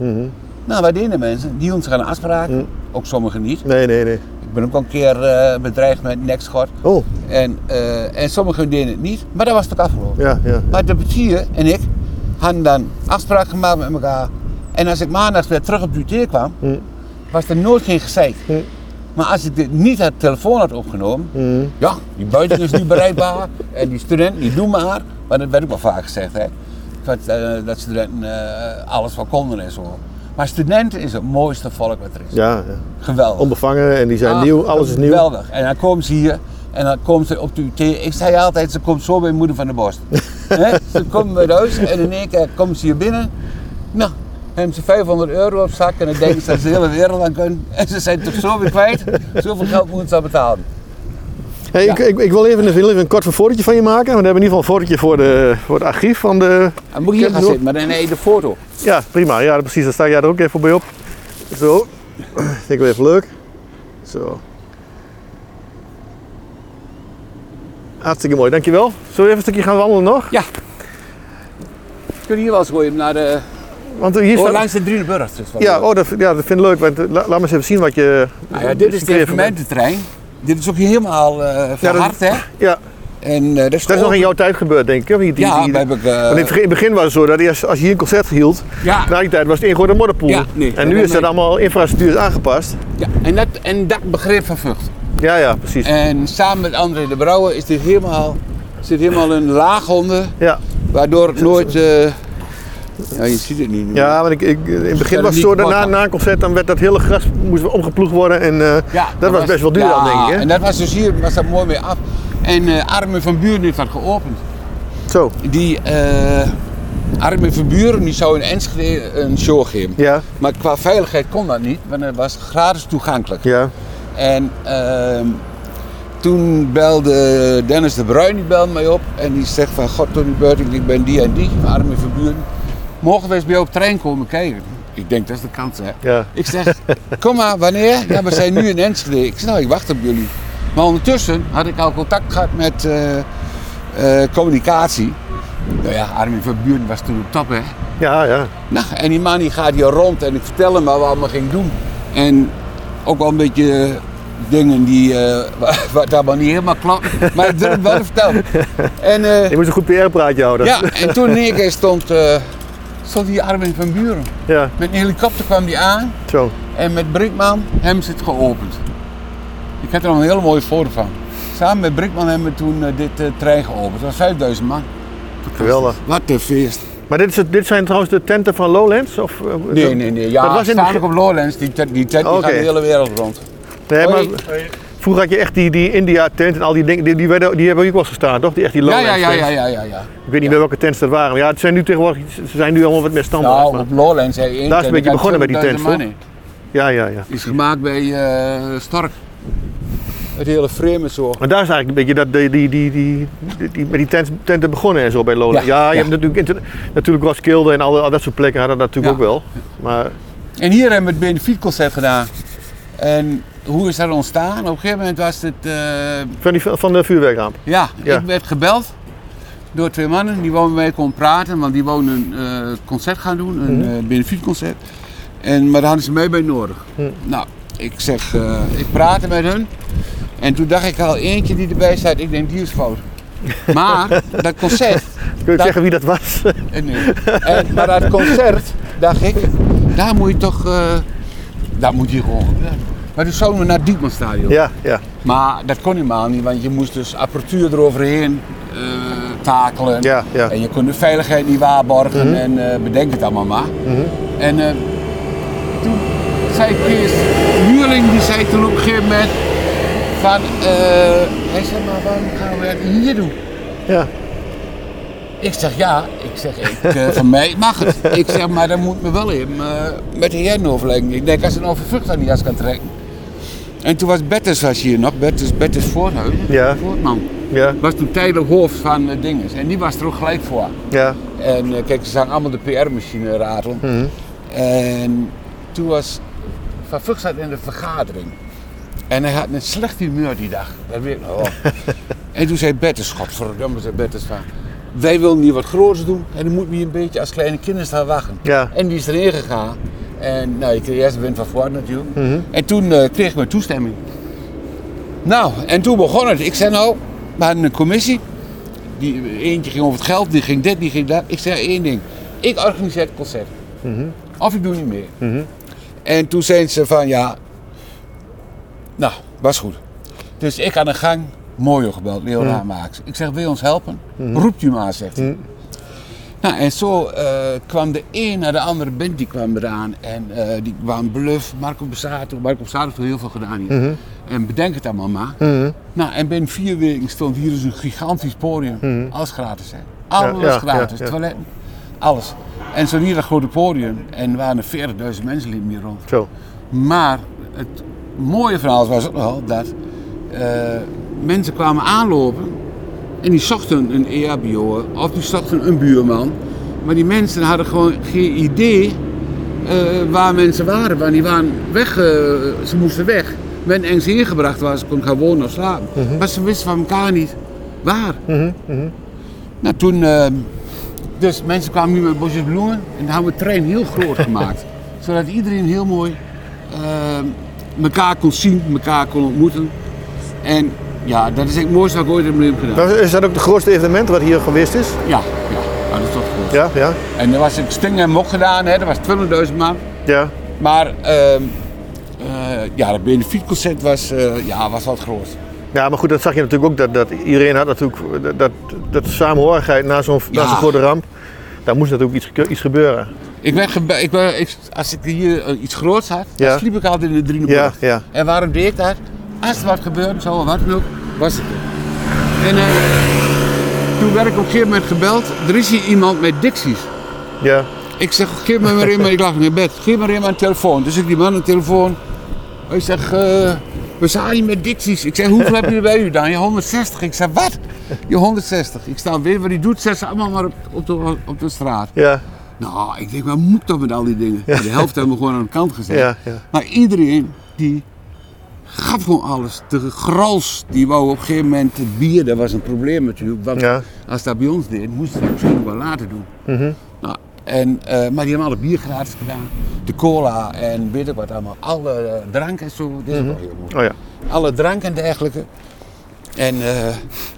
Nou, wat deden de mensen? Die hielden zich aan de afspraak, ook sommigen niet.
Nee, nee, nee.
Ik ben ook al een keer eh, bedreigd met nekschort.
Oh,
En, eh, en sommigen deden het niet, maar dat was het ook afgelopen.
ja, ja.
Maar de portier en ik hadden dan afspraken gemaakt met elkaar. En als ik maandags weer terug op de UT kwam, was er nooit geen gezeik. Maar als ik dit niet het telefoon had opgenomen, ja, die buiten is niet bereikbaar en die student niet doen maar. Maar dat werd ook wel vaak gezegd, hè. Dat, eh, dat studenten eh, alles wel konden en zo. Maar studenten is het mooiste volk wat er is.
Ja, ja.
Geweldig.
Onbevangen en die zijn
Ah,
nieuw, alles is nieuw.
Geweldig. En dan komen ze hier en dan komt ze op de UT. Ik zei altijd, ze komt zo bij moeder van de borst. Hè? ze komt bij huis en in één keer komt ze hier binnen. Nou, hebben ze 500 euro op zak en dan denken ze dat ze de hele wereld aan kunnen. En ze zijn toch zo weer kwijt. Zoveel geld moeten ze aan betalen.
Hey, ik, ik, ik wil even, een- wil even een kort fotootje van je maken. Want we hebben in ieder geval een fotootje voor, de, voor het archief van de...
En Ah, moet hier gaan zitten, maar dan nee, de foto.
Ja, prima. Ja, precies. Dan sta jij er ook even bij op. Zo. Vind ik wel even leuk. Zo. Hartstikke mooi, dankjewel. Zullen we even een stukje gaan wandelen nog?
Je kunt hier wel eens gooien naar de,
Want hier
oh,
staat...
langs de Driedenburg. Dus wel.
Ja, oh, dat, ja, dat vind ik leuk. Want, eh, la- laat maar eens even zien wat je...
Nou ja, dit is de
creatief bent.
evenemententrein. Dit is ook helemaal eh verhard, hè?
Ja,
En, eh, dat is
dat is nog in
gewoon-
jouw tijd gebeurd, denk ik. hè? Die- die-
Ja,
die-
daar heb ik... eh,
Want in het begin- in het begin was het zo dat eerst als je hier een concert hield,
ja,
na die tijd was het ingooide modderpoel.
Ja, nee,
en
dat
nu is
ben
dat
ik.
allemaal infrastructuur is aangepast.
ja, en, dat, en dat begrip van Vught.
Ja, ja, precies.
En samen met André de Brouwer is dit helemaal, zit helemaal een laag onder,
Ja,
waardoor het nooit... eh, ja, je ziet het nu. nu.
ja want ik, ik, in het begin
dat
was het
niet
zo dat na,
makkelijk.
na een concert dan werd dat hele gras moest omgeploegd worden. En, eh,
Ja,
dat was best wel duur dan, denk ik, hè?
en dat was dus hier was dat mooi mee af. En eh, Armin van Buren heeft dat geopend.
Zo,
Die eh, Armin van Buren die zou in Enschede een show geven.
ja,
Maar qua veiligheid kon dat niet, want het was gratis toegankelijk.
ja.
En ehm, toen belde Dennis de Bruin, die belde mij op en die zegt van God Tony Beurting, ik ben die en die, van Armin van Buren. Mogen we eens bij jou op trein komen kijken? Ik denk, dat is de kans hè.
ja.
Ik zeg, kom maar, wanneer? Ja, we zijn nu in Enschede. Ik zeg, nou, ik wacht op jullie. Maar ondertussen had ik al contact gehad met eh, eh, communicatie. Nou ja, Armin van Buren was toen op top, hè.
Ja, ja.
Nou, en die man die gaat hier rond en ik vertel hem wat we allemaal gingen doen. En ook wel een beetje eh, dingen die, eh, wa- wat allemaal niet helemaal klopt. Maar ik durf het wel te vertellen. En, eh,
Je moest een goed PR-praatje houden.
ja, en toen in één keer stond, eh, stond die Armin van Buren.
Ja,
Met een helikopter kwam die aan.
zo.
En met Brinkman hebben ze het geopend. Ik heb er nog een hele mooie foto van. Samen met Brinkman hebben we toen eh, dit eh, trein geopend. Dat was 5000 man.
Geweldig.
Wat een feest.
Maar dit, is het- dit zijn trouwens de tenten van Lowlands? Of, eh,
Nee, nee, nee. Ja,
dat was in het
staan
begin-
ook op Lowlands. Die tent, die, tent, die
Oké.
gaat de hele wereld rond.
Nee,
Hoi.
maar vroeger had je echt die, die India-tent en al die dingen. Die, die, werden, die hebben ook wel eens gestaan, toch? Die, echt die
Ja,
Lowlands
ja, ja, ja, ja, ja. ja.
Ik weet niet bij welke tents dat waren. Maar ja, het zijn nu tegenwoordig, ze zijn nu allemaal wat meer standaard.
Nou,
maar-
op Lowlands. Hey, één
Daar is een
tent,
beetje
die gaat
begonnen met die
20.000
tent,
man
Ja, ja, ja.
in. Is gemaakt bij eh, Stark. Het hele frame en zo.
Maar daar is eigenlijk een beetje dat, die, die, die, die, die- die- met die tent, tenten begonnen en zo bij Lowlands. Ja,
Ja,
je
ja.
hebt natuurlijk, inter- natuurlijk Roskilde en al, al dat soort plekken hadden dat natuurlijk
Ja.
ook wel. Maar
En hier hebben we het benefietconcert gedaan. En hoe is dat ontstaan? Op een gegeven moment was het... eh,
van, die, van de vuurwerkramp.
Ja,
Ja.
ik werd gebeld door twee mannen die wouden mee kon praten, want die wouden een eh, concert gaan doen, een eh benefietconcert. En, maar daar hadden ze mij bij nodig.
Hm.
Nou, ik zeg, eh, ik praatte met hun. En toen dacht ik al eentje die erbij staat, ik denk die is fout. Maar dat concert,
Kun je
Dat-
zeggen wie dat was?
eh, nee. En, maar dat concert, dacht ik, daar moet je toch, eh dat moet hier gewoon gebeuren. Maar toen zouden we naar het Diekmanstadion.
ja, ja.
Maar dat kon helemaal niet, want je moest dus apparatuur eroverheen eh, takelen.
Ja, ja. Mhm.
En je kon de veiligheid niet waarborgen en eh, bedenk het allemaal maar. En eh, toen zei Kees Muurling, die zei toen op een gegeven moment van, eh, hij zei maar waarom gaan we het hier doen?
ja.
Ik zeg ja, ik zeg ik, eh, van mij mag het. Ik zeg maar dan moet me wel in eh, met de heren overleggen. Ik denk als een overvlucht aan die jas kan trekken. En toen was Bertus was hier nog, Bertus, Bertus Voorthuizen,
Ja.
Voortman.
Ja,
Was toen tijdelijk hoofd van eh Dinges en die was er ook gelijk voor.
ja,
En eh, kijk, ze zagen allemaal de PR-machine ratelen. En toen was Van Vught zat in de vergadering. En hij had een slecht humeur die dag. Dat weet ik nog wel. en toen zei Bertus, godverdomme, zei Bertus van... Wij willen hier wat groters doen en dan moeten we hier een beetje als kleine kinderen staan wachten.
Ja.
En die is erin gegaan. En nou, je kreeg eerst de wind van voren natuurlijk. En toen eh, kreeg ik mijn toestemming. Nou, en toen begon het. Ik zei nou, we hadden een commissie. Die, eentje ging over het geld, die ging dit, die ging dat. Ik zei één ding. Ik organiseer het concert. Of ik doe niet meer. En toen zeiden ze van ja, nou, was goed. Dus ik aan de gang, Mojo gebeld, Leo mm Ik zeg, wil je ons helpen?
Mhm.
Roept u maar, zegt hij. Nou, en zo eh, kwam de een naar de andere band, die kwam eraan. En eh, die kwam Bluff, Marco Besato. Marco Besato heeft heel veel gedaan hier.
Mhm.
En bedenk het allemaal maar. Nou, en binnen vier weken stond hier dus een gigantisch podium. Alles gratis, hè. Alles
Mhm. Ja, ja,
gratis.
ja, ja.
Toiletten, alles. En zo hier dat grote podium. En er waren er 40.000 mensen liepen hier rond.
zo.
Maar het mooie van alles was ook wel dat eh, mensen kwamen aanlopen en die zochten een E EHBO of die zochten een buurman. Maar die mensen hadden gewoon geen idee eh, waar mensen waren, want die waren weg, eh, ze moesten weg. werd ergens ingebracht waar ze kon gaan wonen of slapen. Maar ze wisten van elkaar niet waar. Nou, toen, eh, dus mensen kwamen nu met bosjes bloemen en daar hebben we het trein heel groot gemaakt. Zodat iedereen heel mooi eh, elkaar kon zien, elkaar kon ontmoeten. En ja, dat is echt het mooiste wat ik ooit heb gedaan.
Dat- Is dat ook het grootste evenement wat hier geweest is?
Ja, ja, ja, dat is toch goed.
Ja, ja,
En er was een sting en mok gedaan, hè, dat was 200.000 man.
ja.
Maar ehm eh ja, dat benefietconcert was, eh, ja, was wat groot.
Ja, maar goed, dat zag je natuurlijk ook. Dat, dat iedereen had natuurlijk dat, dat, dat samenhorigheid na zo'n na
Ja.
zo'n grote ramp. Daar moest natuurlijk iets, ge- iets gebeuren.
Ik ben gebe- ik ben, ik- als ik hier eh, iets groots had, dan
Ja.
sliep ik altijd in de
Ja,
Drieneburg.
ja.
En waarom deed ik dat? Als er wat gebeurde, zo of wat dan ook, was ik er. En eh, toen werd ik op een gegeven moment gebeld, er is hier iemand met dicties.
Ja,
Ik zeg, geef me maar in, maar ik lag nog in bed. Geef me maar in mijn telefoon. Dus ik die man een telefoon. Hij zegt, eh, we staan hier met dicties. Ik zeg, hoeveel heb je er bij u dan? Je 160. Ik zeg, wat? Je 160. Ik sta weer wat hij doet, zet ze allemaal maar op, op, de, op de straat.
ja,
Nou, ik denk, wat moet ik toch met al die dingen? De helft hebben we gewoon aan de kant gezet.
ja, ja.
Maar iedereen die gaf gewoon alles. De grals, die wou op een gegeven moment het bier, dat was een probleem natuurlijk. Want
Ja. Mhm.
als dat bij ons deed, moesten ze dat misschien wel later doen. Nou, en, eh, maar die hebben alle bier gratis gedaan. De cola en weet ik wat allemaal. Alle eh, drank en zo. Dit is wel heel mooi.
Oh ja.
Alle drank en dergelijke. En eh,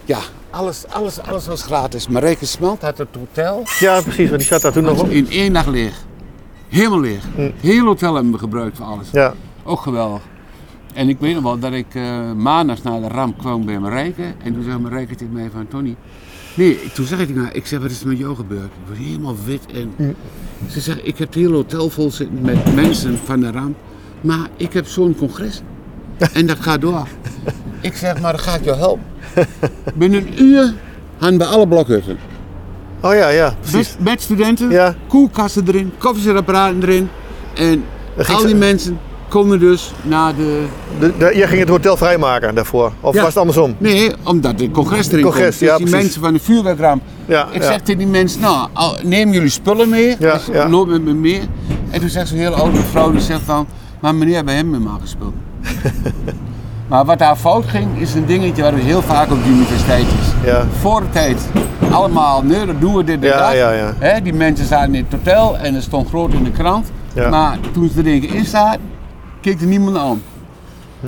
ja, alles, alles, alles was gratis. Marijke Smelt had het hotel.
Ja, precies, want die zat daar toen nog
Dat
op.
was in één dag leeg. Helemaal leeg. Heel hotel hebben we gebruikt voor alles.
Ja,
Ook geweldig. En ik weet nog wel dat ik eh maandags na de ramp kwam bij Marijke. En toen zei Marijke tegen mij van, Tony... Nee, ik- toen zeg ik tegen haar, ik zeg, wat is er met jou gebeurd? Ik word helemaal wit en... Ze zegt, ik heb het hele hotel vol zitten met mensen van de ramp. Maar ik heb zo'n congres. En dat gaat door. Ik zeg, maar dan ga ik jou helpen. Binnen een uur hadden we alle blokhutten.
oh ja, ja, precies.
Met, met studenten,
Ja.
koelkasten erin, koffiezetapparaten erin. En
ging
al
ze-
die mensen konden dus naar de...
De, de- jij ging het hotel vrijmaken daarvoor. Of
Ja.
was het andersom?
Nee, omdat de congres erin
Congres,
komt. Dus
ja,
die
precies.
mensen van de vuurwerkramp.
Ja,
ik
ja.
zeg tegen die mensen, nou, al- neem jullie spullen mee.
Ja,
dus
ja.
Nooit met me meer. En toen zegt zo'n hele oude vrouw, die zegt van... Maar meneer, bij hem helemaal gespeeld. maar wat daar fout ging, is een dingetje waar we heel vaak op de universiteit is.
Ja.
Voor de tijd allemaal, nee, dat doen we dit en
Ja,
dat.
ja, ja.
Hè, die mensen zaten in het hotel en het stond groot in de krant.
Ja.
Maar toen ze er één keer in zaten, keek er niemand aan.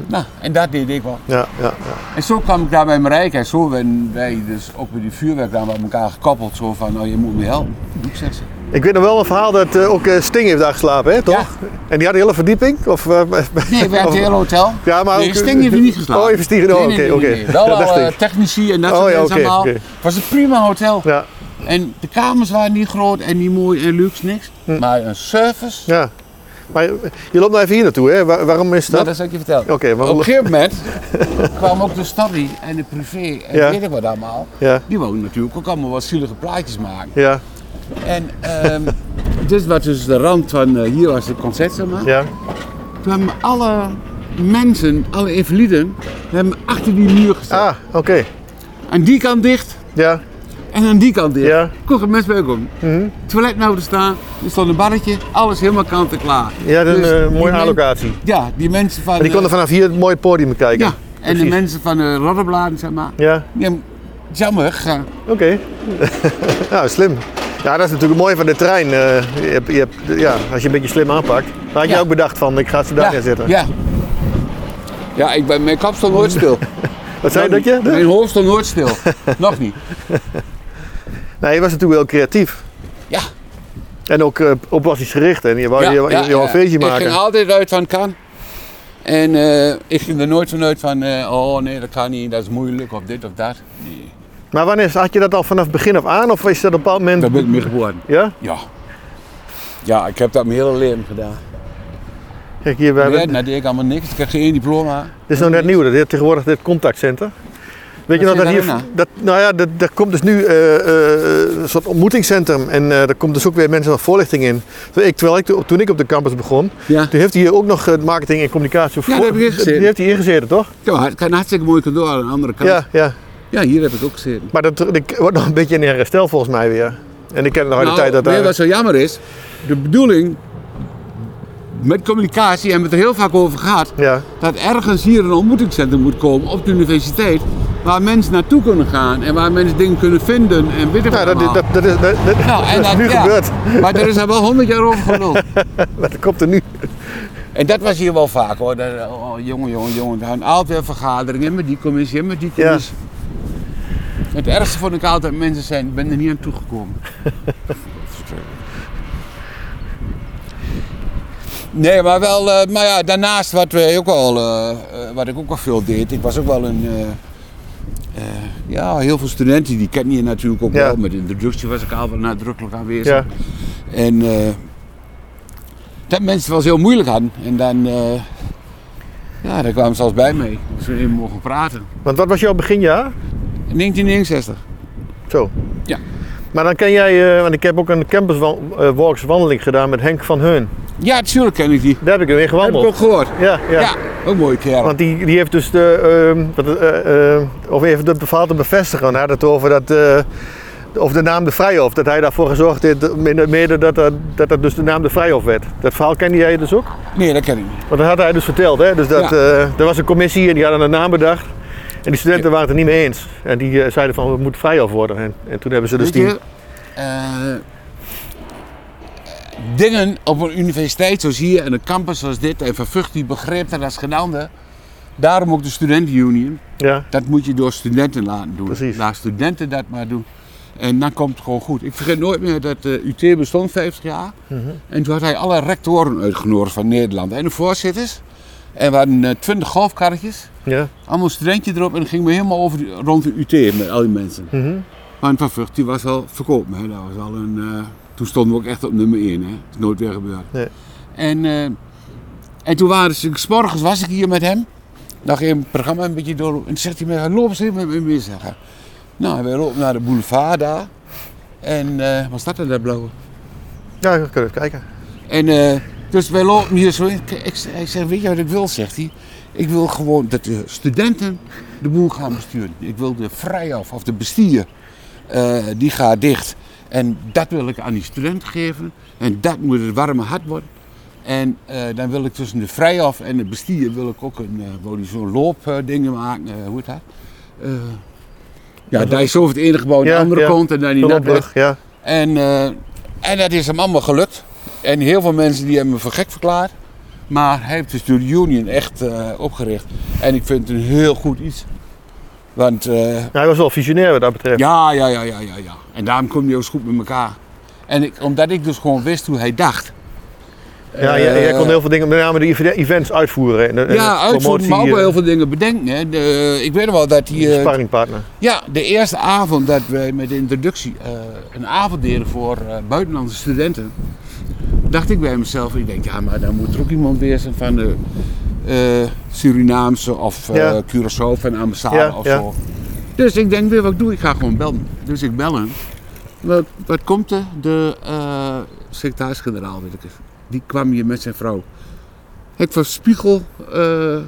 Nou, en dat deed ik wel.
Ja, ja, ja.
En zo kwam ik daar bij Marijke en zo werden wij dus ook bij die vuurwerk aan elkaar gekoppeld. Zo van, nou je moet me helpen. Doe ik zeg ze.
Ik weet nog wel een verhaal dat eh, ook eh, Sting heeft daar geslapen, hè, toch?
Ja.
En die had een hele verdieping? Of, eh,
Nee, we hadden
of-
het hele hotel.
Ja, maar
nee,
ook-
Sting heeft er niet geslapen.
Oh, heeft Sting-
Nee, nee,
oh, oké,
nee,
oké.
nee, nee. Wel
Dat dacht
al eh,
ik.
technici en dat
Oh,
soort
ja,
mensen
oké,
allemaal.
oké.
Het was een prima hotel.
Ja,
En de kamers waren niet groot en niet mooi en luxe, niks. Maar een service,
Hm. ja. Maar je je loopt nou even hier naartoe, hè? Waar- waarom is
Nou,
dat?
dat zal ik je vertellen.
Oké, maar-
Op een gegeven moment kwam ook de story en de privé en
Ja.
weet ik wat allemaal.
Ja,
Die wouden natuurlijk ook allemaal wat zielige plaatjes maken.
ja,
En ehm, dit was dus de rand van, eh, hier was het concert, zeg maar.
ja.
Toen hebben alle mensen, alle invaliden, hebben achter die muur gestaan.
Ah, oké.
Aan die kant dicht
Ja,
en aan die kant dicht.
Ja. Mhm.
Kon geen mens bij komen. Toilet nou te staan, er stond een barretje, alles helemaal kant en klaar.
ja dat is
Dus
een eh,
die
mooie
men-
allocatie. Maar
Ja, die mensen van...
die
eh,
konden vanaf hier het mooie podium kijken.
Ja, en de
Precies.
mensen van de Rodderbladen, zeg maar.
Ja,
Die hebben jammer gegaan.
oké. nou, slim. Ja, dat is natuurlijk mooi van de trein. eh, je hebt, je hebt, ja, als je een beetje slim aanpakt. Dan had je
Ja.
ook bedacht van, ik ga ze daar neerzetten.
Ja. Ja, ik ben, mijn kap stond nooit stil.
Wat zei je dat je?
Mijn hoofd stond nooit stil. Nog niet.
Nee, je was natuurlijk heel creatief.
Ja.
En ook eh, oplossingsgericht. En je wou, je, wou- je wou een feestje
Ik
maken.
ging altijd uit van kan. En eh, ik ging er nooit van uit van, eh, oh nee, dat kan niet, dat is moeilijk, of dit of dat. Nee.
Maar wanneer had je dat al vanaf het begin af aan? Of is dat op een bepaald moment...
Daar ben ik mee geworden.
Ja?
Ja. Ja, ik heb dat mijn hele leven gedaan.
Kijk, hier, we hebben...
Nee, dat deed ik allemaal niks. Ik kreeg geen diploma.
Dit is nog net nieuw. Dat is tegenwoordig dit contactcenter. Weet je nog
Wat
dat
zit
hier...
daarin
Dat, nou ja, dat, daar komt dus nu eh, eh, een soort ontmoetingscentrum. En eh, daar komt dus ook weer mensen van voorlichting in. Terwijl ik, terwijl ik, toen ik op de campus begon,
Ja.
toen heeft hij hier ook nog eh, marketing en communicatie...
daar heb ik in gezeten.
Die heeft hij ingezeten, toch?
Ja, het kan een hartstikke mooi cadeau aan de andere kant.
Ja, ja.
Ja, hier heb ik ook gezeten.
Maar dat, dat wordt nog een beetje in herstel volgens
Nou,
mij weer. En ik ken nog uit de tijd dat...
weet je
daar-
wat zo jammer is? De bedoeling met communicatie hebben we het er heel vaak over gehad.
Ja.
Dat ergens hier een ontmoetingscentrum moet komen op de universiteit. Waar mensen naartoe kunnen gaan en waar mensen dingen kunnen vinden en weet ik
Ja,
wat
dat,
allemaal.
dat, dat, dat is, dat, dat-
Nou, en
dat is
dat-
nu
ja.
gebeurd.
Maar er is daar wel honderd jaar over gelul.
Maar dat komt er nu.
En dat was hier wel vaak hoor. Dat, oh, jongen, jongen, jongen. We hadden altijd weer vergaderingen met die commissie en met die
Ja.
commissie. Het ergste vond ik altijd mensen zijn, ik ben er niet aan toegekomen. Nee, maar wel, eh, maar ja, daarnaast wat, we ook al, eh, eh, wat ik ook al veel deed, ik was ook wel een, eh, eh, ja, heel veel studenten, die ken je natuurlijk ook
Ja.
wel, met introductie was ik al wel nadrukkelijk aanwezig.
Ja.
En eh, dat mensen het wel eens heel moeilijk hadden. En dan, eh, ja, daar kwamen ze zelfs bij mee. Dat ze even mogen praten.
Want wat was jouw beginjaar?
In 1969.
Zo.
Ja.
Maar dan ken jij, eh, want ik heb ook een campuswalks wandeling gedaan met Henk van Heun.
Ja, natuurlijk ken ik die.
Daar heb ik hem weer
Heb ik
gewandeld.
ook gehoord.
Ja, ja.
Ja, ook een mooie kerel.
Want die, die heeft dus de, ehm, wat, eh, eh, of even dat verhaal te bevestigen, hij had het over dat, eh, of de naam de Vrijhof, dat hij daarvoor gezorgd heeft, mede- mede dat dat, dat dat dus de naam de Vrijhof werd. Dat verhaal kende jij dus ook?
Nee, dat ken ik niet.
Want dat had hij dus verteld, hè? Dus dat,
Ja.
eh, er was een commissie en die hadden een naam bedacht. En die studenten waren het er niet mee eens. En die eh, zeiden van, het moet Vrijhof worden. En, en toen hebben ze dus
Weet
die...
je, eh, dingen op een universiteit zoals hier en een campus zoals dit en vervucht die begreep dat als gedaan. Daarom ook de studentenunion.
Ja,
Dat moet je door studenten laten doen.
Precies.
Laat studenten dat maar doen. En dan komt het gewoon goed. Ik vergeet nooit meer dat de UT bestond 50 jaar. En toen had hij alle rectoren uitgenodigd van Nederland. En de voorzitters. En we hadden eh, 20 golfkarretjes.
ja,
Allemaal een studentje erop. En dan gingen we helemaal over die- rond de UT met al die mensen.
Mhm.
Maar Van Vught die was al verkopen. Hè. Dat was al een, eh, toen stonden we ook echt op nummer 1. Hè. Dat is nooit weer gebeurd.
Nee.
En, eh, en toen waren ze, 's morgens was ik hier met hem. Dan ging het programma een beetje door. En toen zegt hij me, loop eens even met me mee zeggen. Nou, wij lopen naar de boulevard daar. En eh wat staat er daar blauwe?
ja, we kunnen even kijken.
En eh, dus wij lopen hier zo in. Ik, ik- ik zeg, weet je wat ik wil, zegt hij. Ik wil gewoon dat de studenten de boel gaan besturen. Ik wil de vrijaf of de bestier, eh, die gaat dicht. En dat wil ik aan die student geven. En dat moet het warme hart worden. En eh, dan wil ik tussen de vrijaf en de bestier wil ik ook een, eh, wil die zo'n loopdingen maken. eh, hoe heet dat? Eh, ja, daar is over het ene gebouw aan de
Ja,
andere
ja.
kant en dan die
De
nachtbrug.
loopbrug, ja.
En, eh, en dat is hem allemaal gelukt. En heel veel mensen die hebben me voor gek verklaard. Maar hij heeft dus door de Union echt eh, opgericht. En ik vind het een heel goed iets. Want eh,
Ja, Hij was wel visionair wat dat betreft.
ja, ja, ja, ja, ja, ja. En daarom kom je ook zo goed met elkaar. En ik, omdat ik dus gewoon wist hoe hij dacht.
Ja, jij, jij kon
Eh,
heel veel dingen, met name de ev- events uitvoeren. En, en
ja, uitvoeren, maar ook wel
eh,
heel veel dingen bedenken. Hè. De, ik weet nog wel dat hij... eh,
sparringpartner.
Ja, de eerste avond dat wij met de introductie eh, een avond deden voor eh, buitenlandse studenten, dacht ik bij mezelf, ik denk, ja, maar dan moet er ook iemand weer zijn van de eh, Surinaamse of eh
Ja.
Curaçao van de ambassade
Ja,
of
ja.
zo. Dus ik denk, weer wat ik doe, ik ga gewoon bellen. Dus ik bel hem. Wat, wat komt er? De eh, secretaris-generaal, weet ik het. Die kwam hier met zijn vrouw. Ik van Spiegel eh, eh,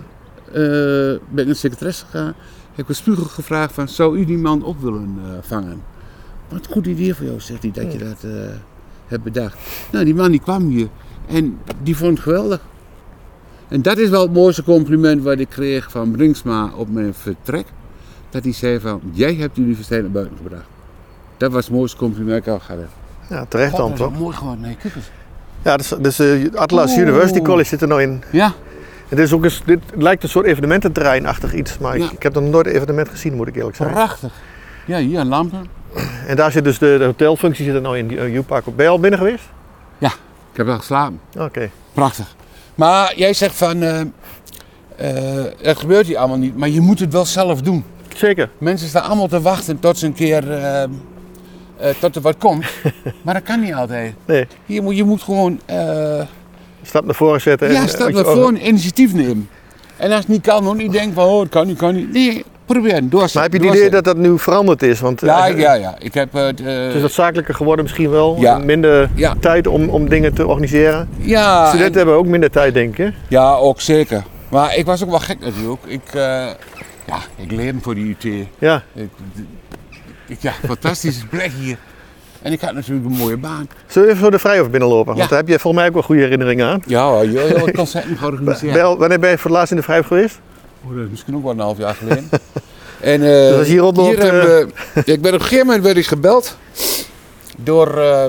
ben ik naar de secretaresse gegaan. Ik heb een spiegel gevraagd van, zou u die man op willen eh, vangen? Wat een goed idee voor jou, zegt hij, dat je dat eh, hebt bedacht. Nou, die man die kwam hier en die vond het geweldig. En dat is wel het mooiste compliment wat ik kreeg van Brinksma op mijn vertrek. Dat hij zei van, jij hebt de universiteit naar buiten gebracht. Dat was het mooiste compliment dat ik al gehad heb.
Ja, terecht
God,
dan
dat is
toch?
wel mooi geworden. Nee, kijk eens.
Ja, dus, dus eh, Atlas
Oeh.
University College zit er nou in.
Ja,
Het is ook eens, dit lijkt een soort evenemententerreinachtig iets, maar
Ja.
ik, ik heb nog nooit een evenement gezien, moet ik eerlijk zeggen.
prachtig. Ja, hier, lampen.
En daar zit dus de, de hotelfunctie zit er nou in, die, eh, U-Park. Ben je al binnen geweest?
Ik heb wel geslapen.
Oké.
Prachtig. Maar jij zegt van, eh, eh, het gebeurt hier allemaal niet, maar je moet het wel zelf doen.
Zeker.
Mensen staan allemaal te wachten tot ze een keer, eh, eh, tot er wat komt. maar dat kan niet altijd.
Nee.
Je moet, je moet gewoon, eh
Stap naar voren zetten.
ja,
en- eh,
stel
en-
maar voor een initiatief nemen. En als het niet kan, dan niet denken van, oh, het kan niet, kan niet. Nee, probeer het, doorzetten.
Maar heb je het idee dat dat nu veranderd is? Want
Ja,
eh,
ja, ja. Ik heb het... eh,
het Dus is wat zakelijker geworden misschien wel.
Ja.
En Minder
Ja. Ah,
tijd om, om dingen te organiseren.
ja,
Studenten hebben ook minder tijd, denk ik. hè?
Ja, ook zeker. Maar ik was ook wel gek natuurlijk. Ik, eh, ja, ik leerde voor die UT.
Ja.
Ik, ik- ja, fantastische plek hier. En ik had natuurlijk een mooie baan.
Zullen we even zo de Vrijhof binnenlopen?
Ja.
Want daar heb je volgens mij ook wel goede herinneringen aan.
Ja, hoor, joh, joh, ik kan het niet georganiseerd.
Wel, wanneer ben je voor het laatst in de Vrijhof geweest?
Oh, dat is misschien ook wel een half jaar geleden. en, eh,
Dus als je hier rondloopt,
hebben we- ik ben op een gegeven moment werd ik gebeld door eh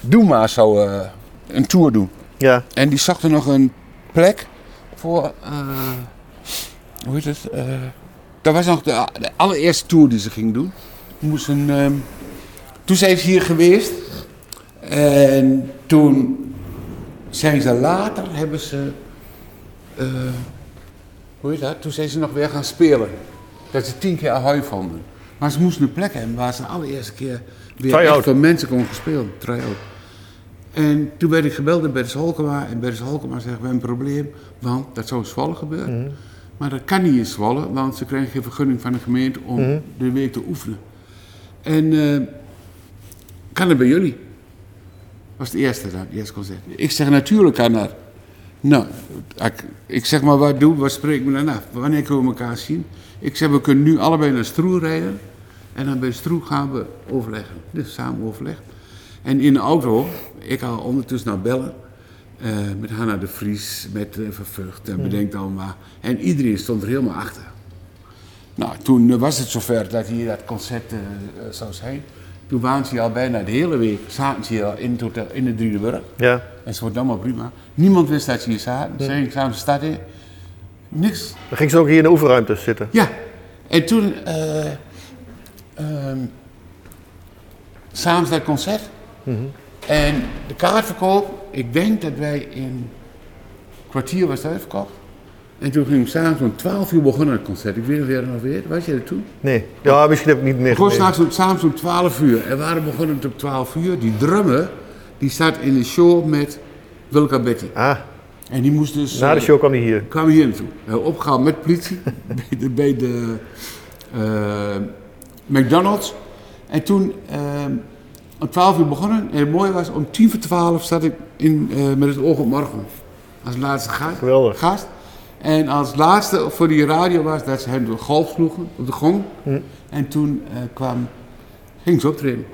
Doema zou eh, een tour doen.
Ja.
En die zag er nog een plek voor. eh, hoe heet het? eh, dat was nog de, de allereerste tour die ze ging doen. Moest een, ehm, toen zijn ze hier geweest. En toen zijn ze later, hebben ze. eh, hoe heet dat? Toen zijn ze nog weer gaan spelen. Dat ze tien keer Ahoy vonden. Maar ze moesten een plek hebben waar ze de allereerste keer weer
Try-out.
echt voor mensen kon gespeeld. Try-out. En toen werd ik gebeld door Bertus Holkema. En Bertus Holkema zegt, we hebben een probleem, want dat zou in Zwolle gebeuren. Maar dat kan niet in Zwolle, want ze kregen geen vergunning van de gemeente om de week te oefenen. En eh, kan dat bij jullie? was het eerste dan, het eerste concert. Ik zeg, natuurlijk kan dat. Nou, ik, ik zeg maar, wat doe, wat spreek ik me dan af? Wanneer kunnen we elkaar zien? Ik zeg, we kunnen nu allebei naar Stroe rijden. En dan bij Stroe gaan we overleggen. Dus samen overleg. En in de auto, ik al ondertussen naar bellen. eh, met Hanna de Vries, met uh, Vervucht en bedenk dan maar. En iedereen stond er helemaal achter. Nou, toen eh, was het zover dat hier dat concert eh, eh, zou zijn. Toen waren ze al bijna de hele week, zaten ze hier al in, het hotel, in de Driedeburg.
Ja.
En ze wordt allemaal prima. Niemand wist dat ze hier zaten. Ze zijn samen de stad in. Niks.
Dan ging ze ook hier in de oefenruimtes zitten.
Ja. En toen, eh ehm, s'avonds dat concert. En de kaartverkoop, ik denk dat wij in een kwartier was het uitverkocht. En toen ging ik s'avonds om 12 uur begonnen het concert. Ik weet niet of jij dat nog weet. Was je er toen?
Nee. Ja, misschien heb ik niet meer
Het was
gemeten.
s'avonds om, s'avonds om 12 uur. En waarom begonnen het om 12 uur? Die drummer, die staat in de show met Wilka Betty.
Ah,
En die moest dus...
na de
eh,
show kwam hij hier.
kwamen hier naartoe. Eh, opgehaald met politie bij de, bij de, eh, McDonald's. En toen eh, om 12 uur begonnen. En het mooie was, om 10 voor 12 zat ik in, eh, met het oog op morgen. Als laatste gast.
Geweldig.
gast. En als laatste voor die radio was dat ze hem door de golf sloegen op de gong.
Hm.
En toen eh, kwam, ging ze optreden.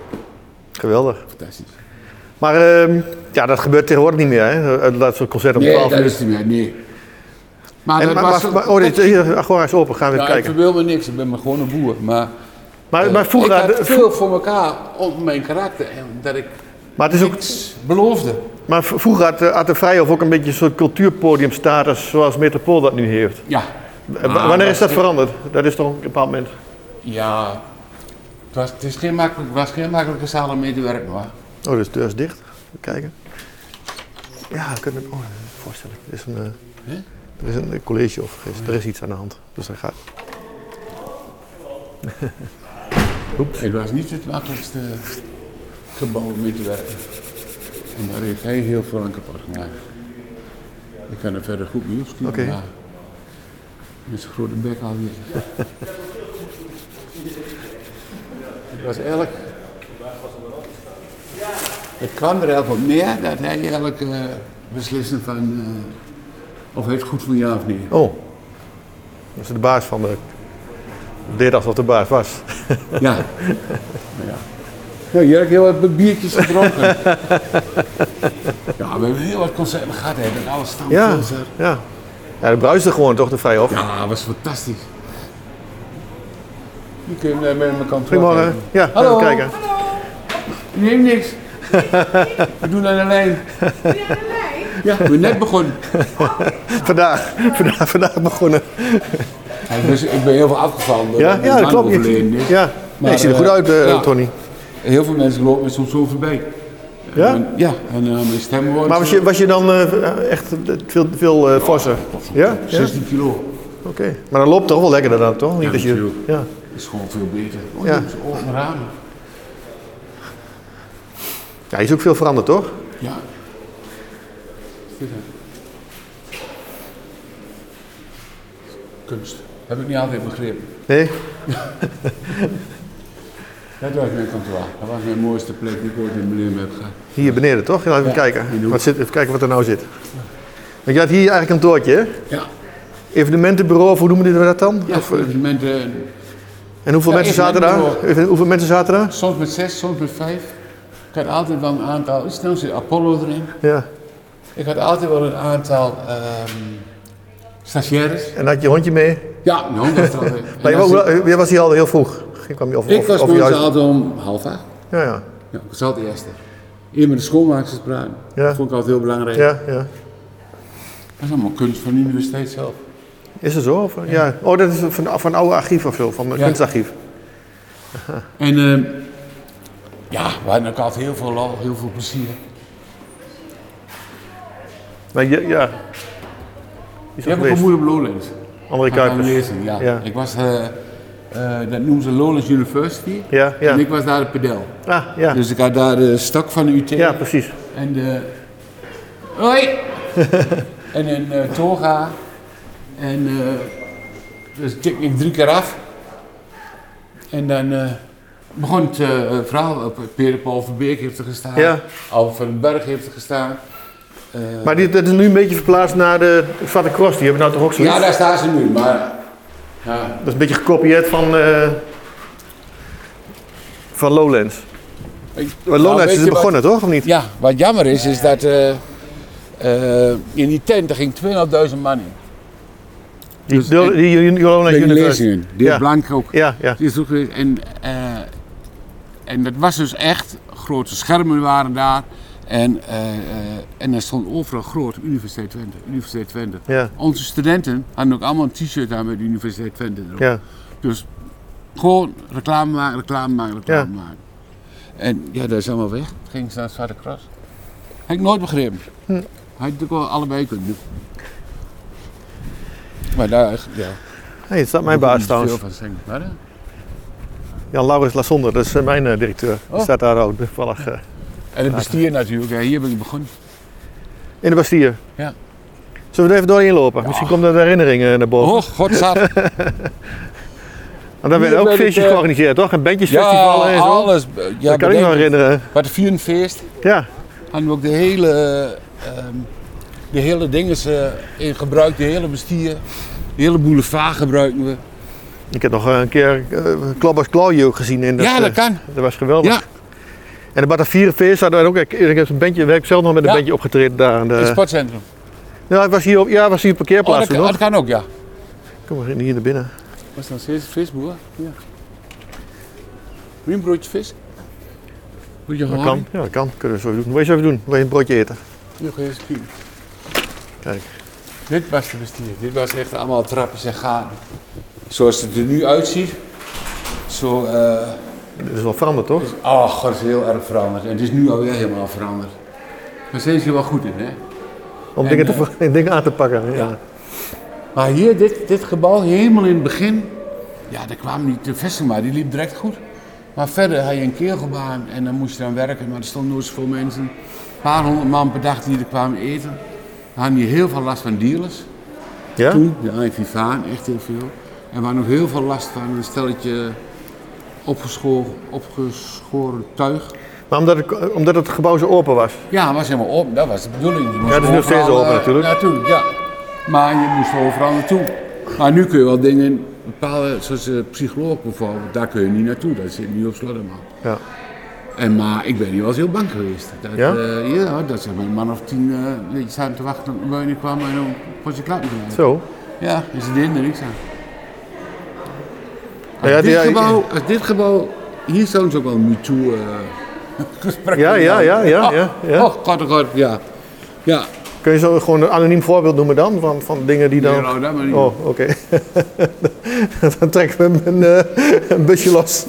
Geweldig.
Fantastisch.
Maar ehm, ja, dat gebeurt tegenwoordig niet meer, hè? Eh, Dat soort concerten om 12
Nee, dat
uur.
is niet meer, nee. Maar
En,
dat
maar,
was...
maar, maar- oh, dit, hier, Agora is open, gaan we
ja,
even
ik
kijken.
verbeeld me niks, ik ben maar gewoon een boer. Maar
Maar,
Eh,
maar vroeger...
ik had
had-
veel voor elkaar op mijn karakter en dat ik
Maar, het is ook,
iets beloofde.
maar v- vroeger had, eh, had de Vrijhof ook een beetje een soort cultuurpodiumstatus zoals Metropool dat nu heeft.
Ja. Ah,
Eh, wa- wanneer is dat veranderd? Dat is toch een bepaald moment.
Ja. Het was, het is geen makkelijk, het was geen makkelijke zaal om mee te werken hoor.
Oh, dus de deur is dicht. Even kijken. Ja, ik kan me oh, voorstellen. Er is een, eh,
Hè?
er is een eh, college of er is, er is iets aan de hand. Dus dan gaat...
Het was niet het makkelijkste gebouw om mee te werken. En daar heeft hij heel veel aan kapot gemaakt. Ik kan er verder goed nieuws zien.
Oké.
maar Met zijn grote bek alweer. het was eigenlijk. Het kwam er eigenlijk op neer dat hij eigenlijk eh besliste van. eh, of hij het goed voor ja of niet.
Oh, dat is de baas van de... Deed alsof de baas was.
Ja. ja. Nou, Jurk, heel wat biertjes gedronken. ja, we hebben heel wat concerten gehad, hè. Met alle
Ja,
stamklozen. Ja.
ja. Ja, dat bruiste gewoon toch, de Vrijhof?
dat was fantastisch. Je kunt eh, met mijn kant
Goedemorgen. Ja,
Hallo.
even kijken.
Neem niks. We doen aan de lijn. Ja, we zijn net begonnen.
Vandaag, vandaag, vandaag begonnen.
Ja, dus ik ben heel veel afgevallen. door
Ja,
mijn
ja dat
man
klopt. Je-
overleden is.
Ja. Nee, je ziet er
eh,
goed uit, eh,
ja.
Tony.
Heel veel mensen lopen me soms zo voorbij.
Ja?
En, ja, en eh, mijn stem wordt...
Maar was je, was je dan eh, echt veel, veel eh, forser? Ja? ja? Oké.
16 kilo.
Maar dan loopt toch wel lekkerder dan, toch? Niet dat je,
natuurlijk.
ja.
Dat is gewoon veel beter. Oh,
Ja.
ja. Open ramen.
ja, je is ook veel veranderd, toch?
Ja. Dit, hè. Kunst. Heb ik niet altijd begrepen.
Nee?
Dat was mijn kantoor. Dat was mijn mooiste plek die ik ooit in mijn leven heb gehad.
Hier beneden, toch? Laten we
Ja, in de
kijken.
hoek.
Wat zit, even kijken wat er nou zit. Want je had hier eigenlijk een kantoortje, hè?
Ja.
Evenementenbureau, of hoe noemen we dat dan?
ja
Of,
voor
eh,
het moment, eh,
en hoeveel
Ja,
mensen zaten daar?
evenementenbureau.
Even- Hoeveel mensen zaten daar?
soms met zes, soms met vijf. Ik had altijd wel een aantal, is trouwens zit Apollo erin.
Ja.
Ik had altijd wel een aantal ehm stagiaires.
En had je hondje mee?
Ja, nou, dat is toch. en
Maar je,
als
was,
ik-
je was hier al heel vroeg. Ik, kwam je of,
ik
of-
was
of
bij ons
juist-
altijd om half acht.
Ja, ja.
Ja, ik was altijd de eerste. Eer met de schoonmaaksters praten.
Ja.
Dat vond ik altijd heel belangrijk.
ja, ja.
Dat is allemaal kunst van de universiteit zelf.
Is het zo? Of- ja. Oh, dat is van, van oude archief of zo, van het
Ja.
kunstarchief.
En ehm, ja, we hadden ook altijd heel veel lol, heel veel plezier.
Maar je, ja. Is
Je
dat
hebt ook een
geweest?
moeder op Lowlands.
André
Ga ik aan
Kuipers.
lezen, ja.
Ja.
Ik was, eh, eh, dat noemen ze Lowlands University.
Ja, ja.
En ik was daar de pedel.
Ah, ja.
Dus ik had daar de stak van de UT.
Ja, precies.
En de... Hoi! en een eh, toga. En eh, dus tik ik drie keer af. En dan eh, begon het eh, verhaal. op Peter Paul Verbeek heeft er gestaan.
Ja.
Albert van den Berg heeft er gestaan. Eh,
Maar dit, dit is nu een beetje verplaatst naar de Zwarte Cross. Die hebben nou toch ook zoiets?
ja, daar staan ze nu. Maar ja,
Dat is een beetje gekopieerd van, eh, van Lowlands.
ik-
Maar
Nou,
Lowlands
weet
is
je
er
wat-
begonnen, toch? Of niet?
Ja, wat jammer is, is dat eh, eh, in die tent er ging 2.500 man in.
Die,
Dus
die,
ik-
die, die Lowlands
Bij de
University.
lezingen. Die
Ja.
Blank ook.
Ja, ja.
Die is ook geweest. En, eh, en dat was dus echt, grote schermen waren daar. En, eh, eh, en er stond overal groot Universiteit Twente, Universiteit Twente.
Ja,
Onze studenten hadden ook allemaal een t-shirt aan met Universiteit Twente erop.
ja.
Dus gewoon reclame maken, reclame maken, reclame
Ja.
maken. En ja, dat is allemaal weg. Toen ging ze naar het Zwarte Kras. Heb ik nooit begrepen.
Hm.
Had je natuurlijk wel allebei kunnen doen. Maar daar, ja.
Hé, het staat mijn baas trouwens.
Veel van zeggen. Wat, hè?
Jan Laurens Lassonder, dat is eh, mijn eh, directeur. Die
Oh.
staat daar ook toevallig eh,
En het bestier natuurlijk, hè. hier ben ik begonnen.
in de Bastille.
Ja.
Zullen we er even doorheen lopen? Misschien komt er een herinnering eh, naar boven.
Oh, godzat.
Want daar
hier
werden ook
ben ik,
feestjes
eh,
georganiseerd, toch? En
ja,
bandjesfestivalen en zo.
alles. Ja,
dat kan ik me
bedenk.
herinneren.
Wat de Vierenfeest,
Ja,
hadden we ook de hele, ehm, de hele dingen eh, in gebruik, de hele bestier. De hele boulevard gebruiken we.
ik heb nog eh, een keer eh, Klabbers Claudio gezien. In dat,
ja, dat
eh,
kan.
Dat was geweldig.
Ja.
En de Batavierenfeest hadden we ook. Ik, ik heb een bandje, werk zelf nog met een
Ja.
bandje opgetreden daar. Aan de,
Het sportcentrum.
ja, het was hier op, ja, het was hier een
Oh,
parkeerplaats
dat,
toen
kan- dat
nog.
kan ook, ja.
Kom maar hier naar binnen.
Was dan steeds visboer? Ja. Wil je een broodje vis? Moet je
Dat
gewoon.
kan. Ja, dat kan. Kunnen we zo doen. Wil je eens even doen? Wil je een broodje eten?
Nog eens kijken.
Kijk.
Dit was de bestier. Dit was echt allemaal trapjes en gaten. Zoals het er nu uitziet. Zo, eh
Dit is wel veranderd, toch?
oh god, het is heel erg veranderd. En het is nu alweer helemaal veranderd. Maar ze is er wel goed in, hè?
Om
En,
dingen, te,
eh,
ver- dingen aan te pakken. Ja.
Maar hier, dit, dit gebouw, helemaal in het begin. Ja, daar kwam niet de vesting maar, die liep direct goed. Maar verder had je een keelgebaan en dan moest je dan werken. Maar er stonden nooit zoveel mensen. Een paar honderd man per dag die er kwamen eten. Dan hadden die heel veel last van dealers.
Ja?
Toen, de Vivaan, echt heel veel. En we hadden ook heel veel last van een stelletje opgeschoren, opgeschoren tuig.
Maar omdat het, omdat het gebouw zo open was.
Ja, het was helemaal open, dat was de bedoeling. Je moest
Ja, het is nog
overal,
steeds open
eh,
natuurlijk.
Ja, natuurlijk, ja. Maar je moest overal naartoe. Maar nu kun je wel dingen, bepaalde, zoals eh psycholoog bijvoorbeeld, daar kun je niet naartoe. Dat zit nu op Slotterman.
Ja.
En maar ik ben hier wel eens heel bang geweest. Dat,
Ja?
eh, ja, dat zijn een man of tien eh, die zaten te wachten tot de beuning kwam en dan was je klaar met mij.
Zo.
Ja, dus die deden er niks aan. Als,
Ja,
dit
die-
gebouw, als dit gebouw, hier zouden ze ook wel een MeToo eh gesprek
Ja, ja, ja, ja,
Oh,
ja, ja.
oh, god, oh, god, ja. Ja,
Kun je zo gewoon een anoniem voorbeeld noemen dan? Van, van dingen die
Nee,
dan...
nou, dat maar niet.
Oh, oké. dan trekken we een, eh, een busje los.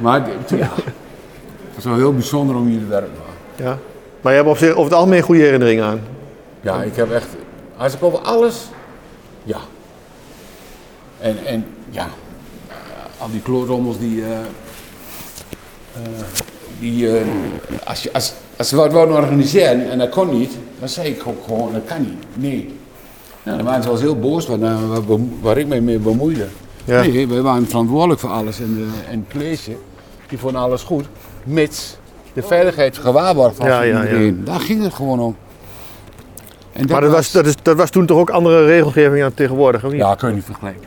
Maar dit- ja, het is wel heel bijzonder om hier te werken. man.
Ja. Maar je hebt op zich over het algemeen goede herinneringen aan.
Ja, ik heb echt, als ik over alles, ja. En, en ja, eh, al die kloorommels die, eh, eh, die eh, als, je, als, als ze wat wouden organiseren en dat kon niet, dan zei ik ook gewoon, dat kan niet, nee. Nou, dan waren ze wel eens heel boos wat, eh, wat bemo- waar ik me mee bemoeide.
Ja.
Nee, wij waren verantwoordelijk voor alles en, eh, en het college, die vond alles goed, mits de veiligheid gewaarborgd was
Ja,
voor
ja, ja.
iedereen. Daar ging het gewoon om. En
Maar dat was, dat, is, dat was toen toch ook andere regelgeving dan tegenwoordig, of niet?
Ja, kun je niet vergelijken.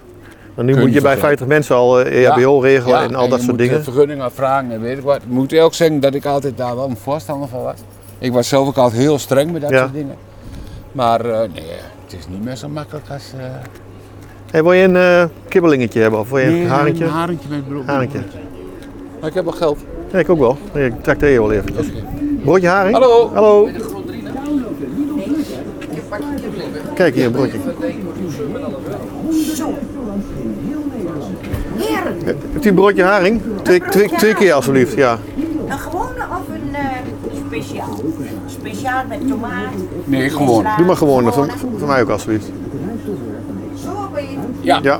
Want nu
Kun
moet
je
je bij
vergeten.
50 mensen al eh, EHBO regelen en al dat soort dingen.
eh, vergunningen vragen en weet ik wat. Ik moet ook zeggen dat ik altijd daar wel een voorstander van was. Ik was zelf ook altijd heel streng met dat
Ja.
soort dingen. Maar eh, nee, het is niet meer zo makkelijk als... eh,
Hey, wil je een eh, kibbelingetje hebben of wil je
nee,
een harentje?
Een harentje met brood.
Harentje.
Maar ik heb wel geld.
Ja, ik ook wel. Ik trakteer je wel even. Broodje haring?
Hallo.
Hallo. Kijk hier, een broodje. Hebt u een broodje haring? Twee, twee, twee keer alsjeblieft, ja.
Een gewone of een eh, speciaal? Speciaal met tomaat.
Nee, gewoon.
Doe maar gewoon, voor, voor mij ook alsjeblieft.
Zo ben je.
Ja.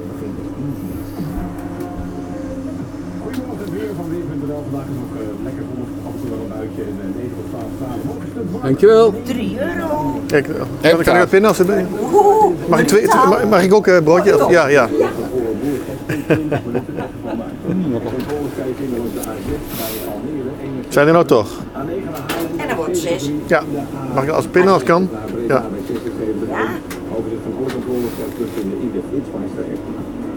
Dankjewel.
3 euro.
Kijk, eh, kan, kan ik dat pinnen als het bij? Mag ik, twee, twee- mag, mag ik ook eh, broodje? Of, ja, ja. Zijn er nou toch?
En dan wordt 6.
Ja. Mag ik als pinnen als kan? Ja.
Ja.
Over dit controlecontrole staat tussen in ieder flitsmeister.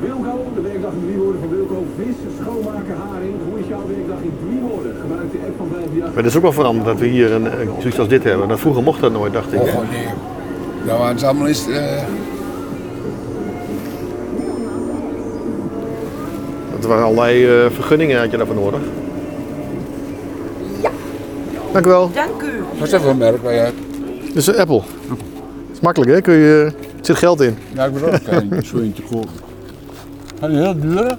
Wilco, de werkdag in drie woorden van Wilco. Vis, schoonmaken, haring. Hoe is jouw werkdag in drie woorden? Gebruik de app van 5
Maar het is ook wel veranderd dat we hier een, een- zoiets als dit hebben. Dat vroeger mocht dat nooit, dacht ik.
Oh, god, nee. Nou, maar het is allemaal eens... eh,
Dat waren allerlei eh, vergunningen had je daarvoor nodig. Dank u wel.
Dank u.
wat is dat voor een merk waar je...
Dit is een appel. is makkelijk, hè? Kun je, eh, er zit geld in.
Ja, ik bedoel, ik kan een zoentje kopen. Zijn die heel dure?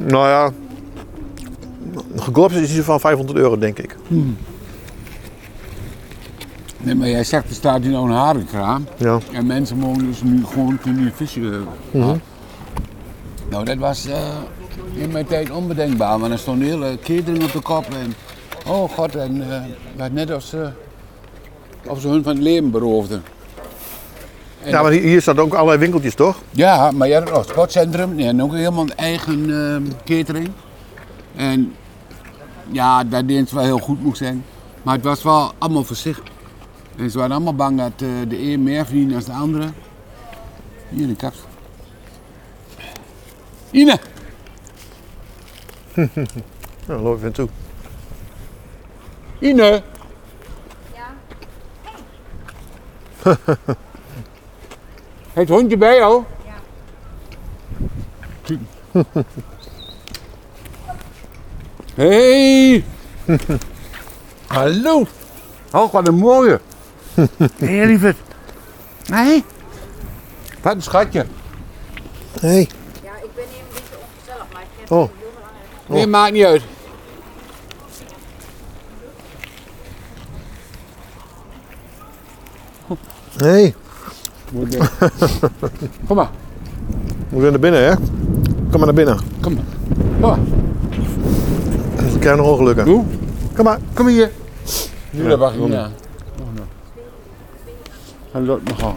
Nou ja, gekorps is iets van 500 euro, denk ik.
Nee, maar jij zegt, er staat hier nou een harenkraam.
Ja.
En mensen mogen dus nu gewoon kunnen vissen. halen. Nou, dat was eh, in mijn tijd onbedenkbaar, want er stond een hele catering op de kop. En, oh god, en eh, het was net als, eh, of ze hun van het leven beroofden.
Ja, maar hier, hier staan ook allerlei winkeltjes, toch?
Ja, maar jij had ook het sportcentrum nee, en ook helemaal een eigen ehm, catering. En ja, dat deed het wel heel goed moet ik zeggen. Maar het was wel allemaal voor zich. En ze waren allemaal bang dat eh, de een meer verdiende dan de andere. Hier, de kaps. Ine!
Ja, dan loop ik even toe.
Ine!
Ja?
Het hondje bij jou? Ja. hey! Hallo! Oh, wat een mooie! Hé, hey, lieverd. Nee? Wat een schatje.
Hey.
Ja, ik ben hier een beetje ongezellig, maar ik heb
Oh.
heel belangrijk.
Nee, maakt niet uit.
Hey.
Kom maar,
Moet weer naar binnen, hè? Kom maar naar binnen.
kom maar. Kom maar,
We krijgen nog ongelukken.
doe.
Kom maar.
Kom hier. Nu, dat wacht ik niet aan. Hij loopt me gewoon.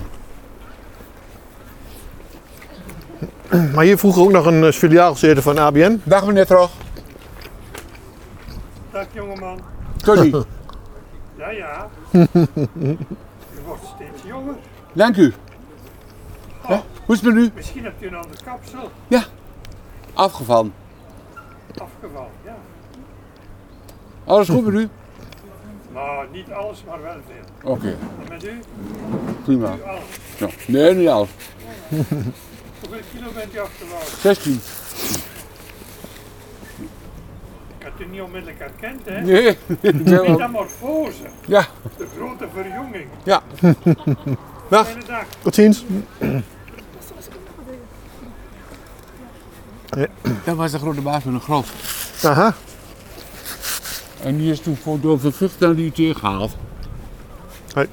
Maar hier vroeger ook nog een eh, filiaal gezeten van ABN.
Dag meneer Trog.
Dag jongeman.
Sorry.
Ja, ja. Je wordt steeds jonger.
Dank u. Hè? Hoe is het met u?
Misschien hebt u een ander kapsel
Afgevallen.
afgevallen. Ja.
Alles goed met u?
Nou, niet alles, maar wel veel.
Oké,
En met u?
prima.
Alles.
Ja. Nee, niet alles.
Hoeveel kilo bent u afgevallen?
16.
Ik had u niet onmiddellijk herkend, hè?
Nee.
Metamorfose.
Ja.
De grote verjonging.
Ja. Dag.
Fijne dag.
Tot ziens.
Dat was de grote baas van een groot.
Aha.
En die is toen voor door vervlucht naar de UT gehaald.
Hoi.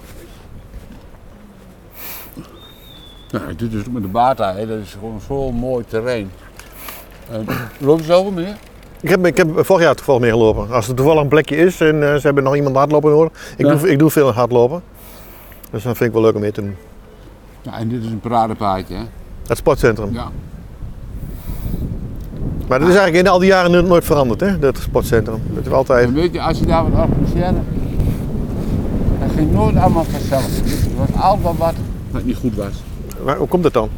Nou, hij doet dus met de Bata, hè. dat is gewoon zo'n mooi terrein. En, loop je zelf meer?
Ik heb, ik heb eh, vorig jaar toevallig meegelopen. Als er toevallig een plekje is en eh, ze hebben nog iemand hardlopen nodig. Ik,
Ja.
doe, ik doe veel hardlopen. Dus dan vind ik wel leuk om mee te doen.
Ja, en dit is een paradepaadje. Hè?
Het sportcentrum.
Ja.
Maar dat is eigenlijk in al die jaren nooit veranderd, hè? Dat sportcentrum. Dat is altijd.
En weet je, als je daar wat organiseerde, dat ging nooit allemaal vanzelf. Er was altijd wat wat niet goed was.
Maar hoe komt dat dan?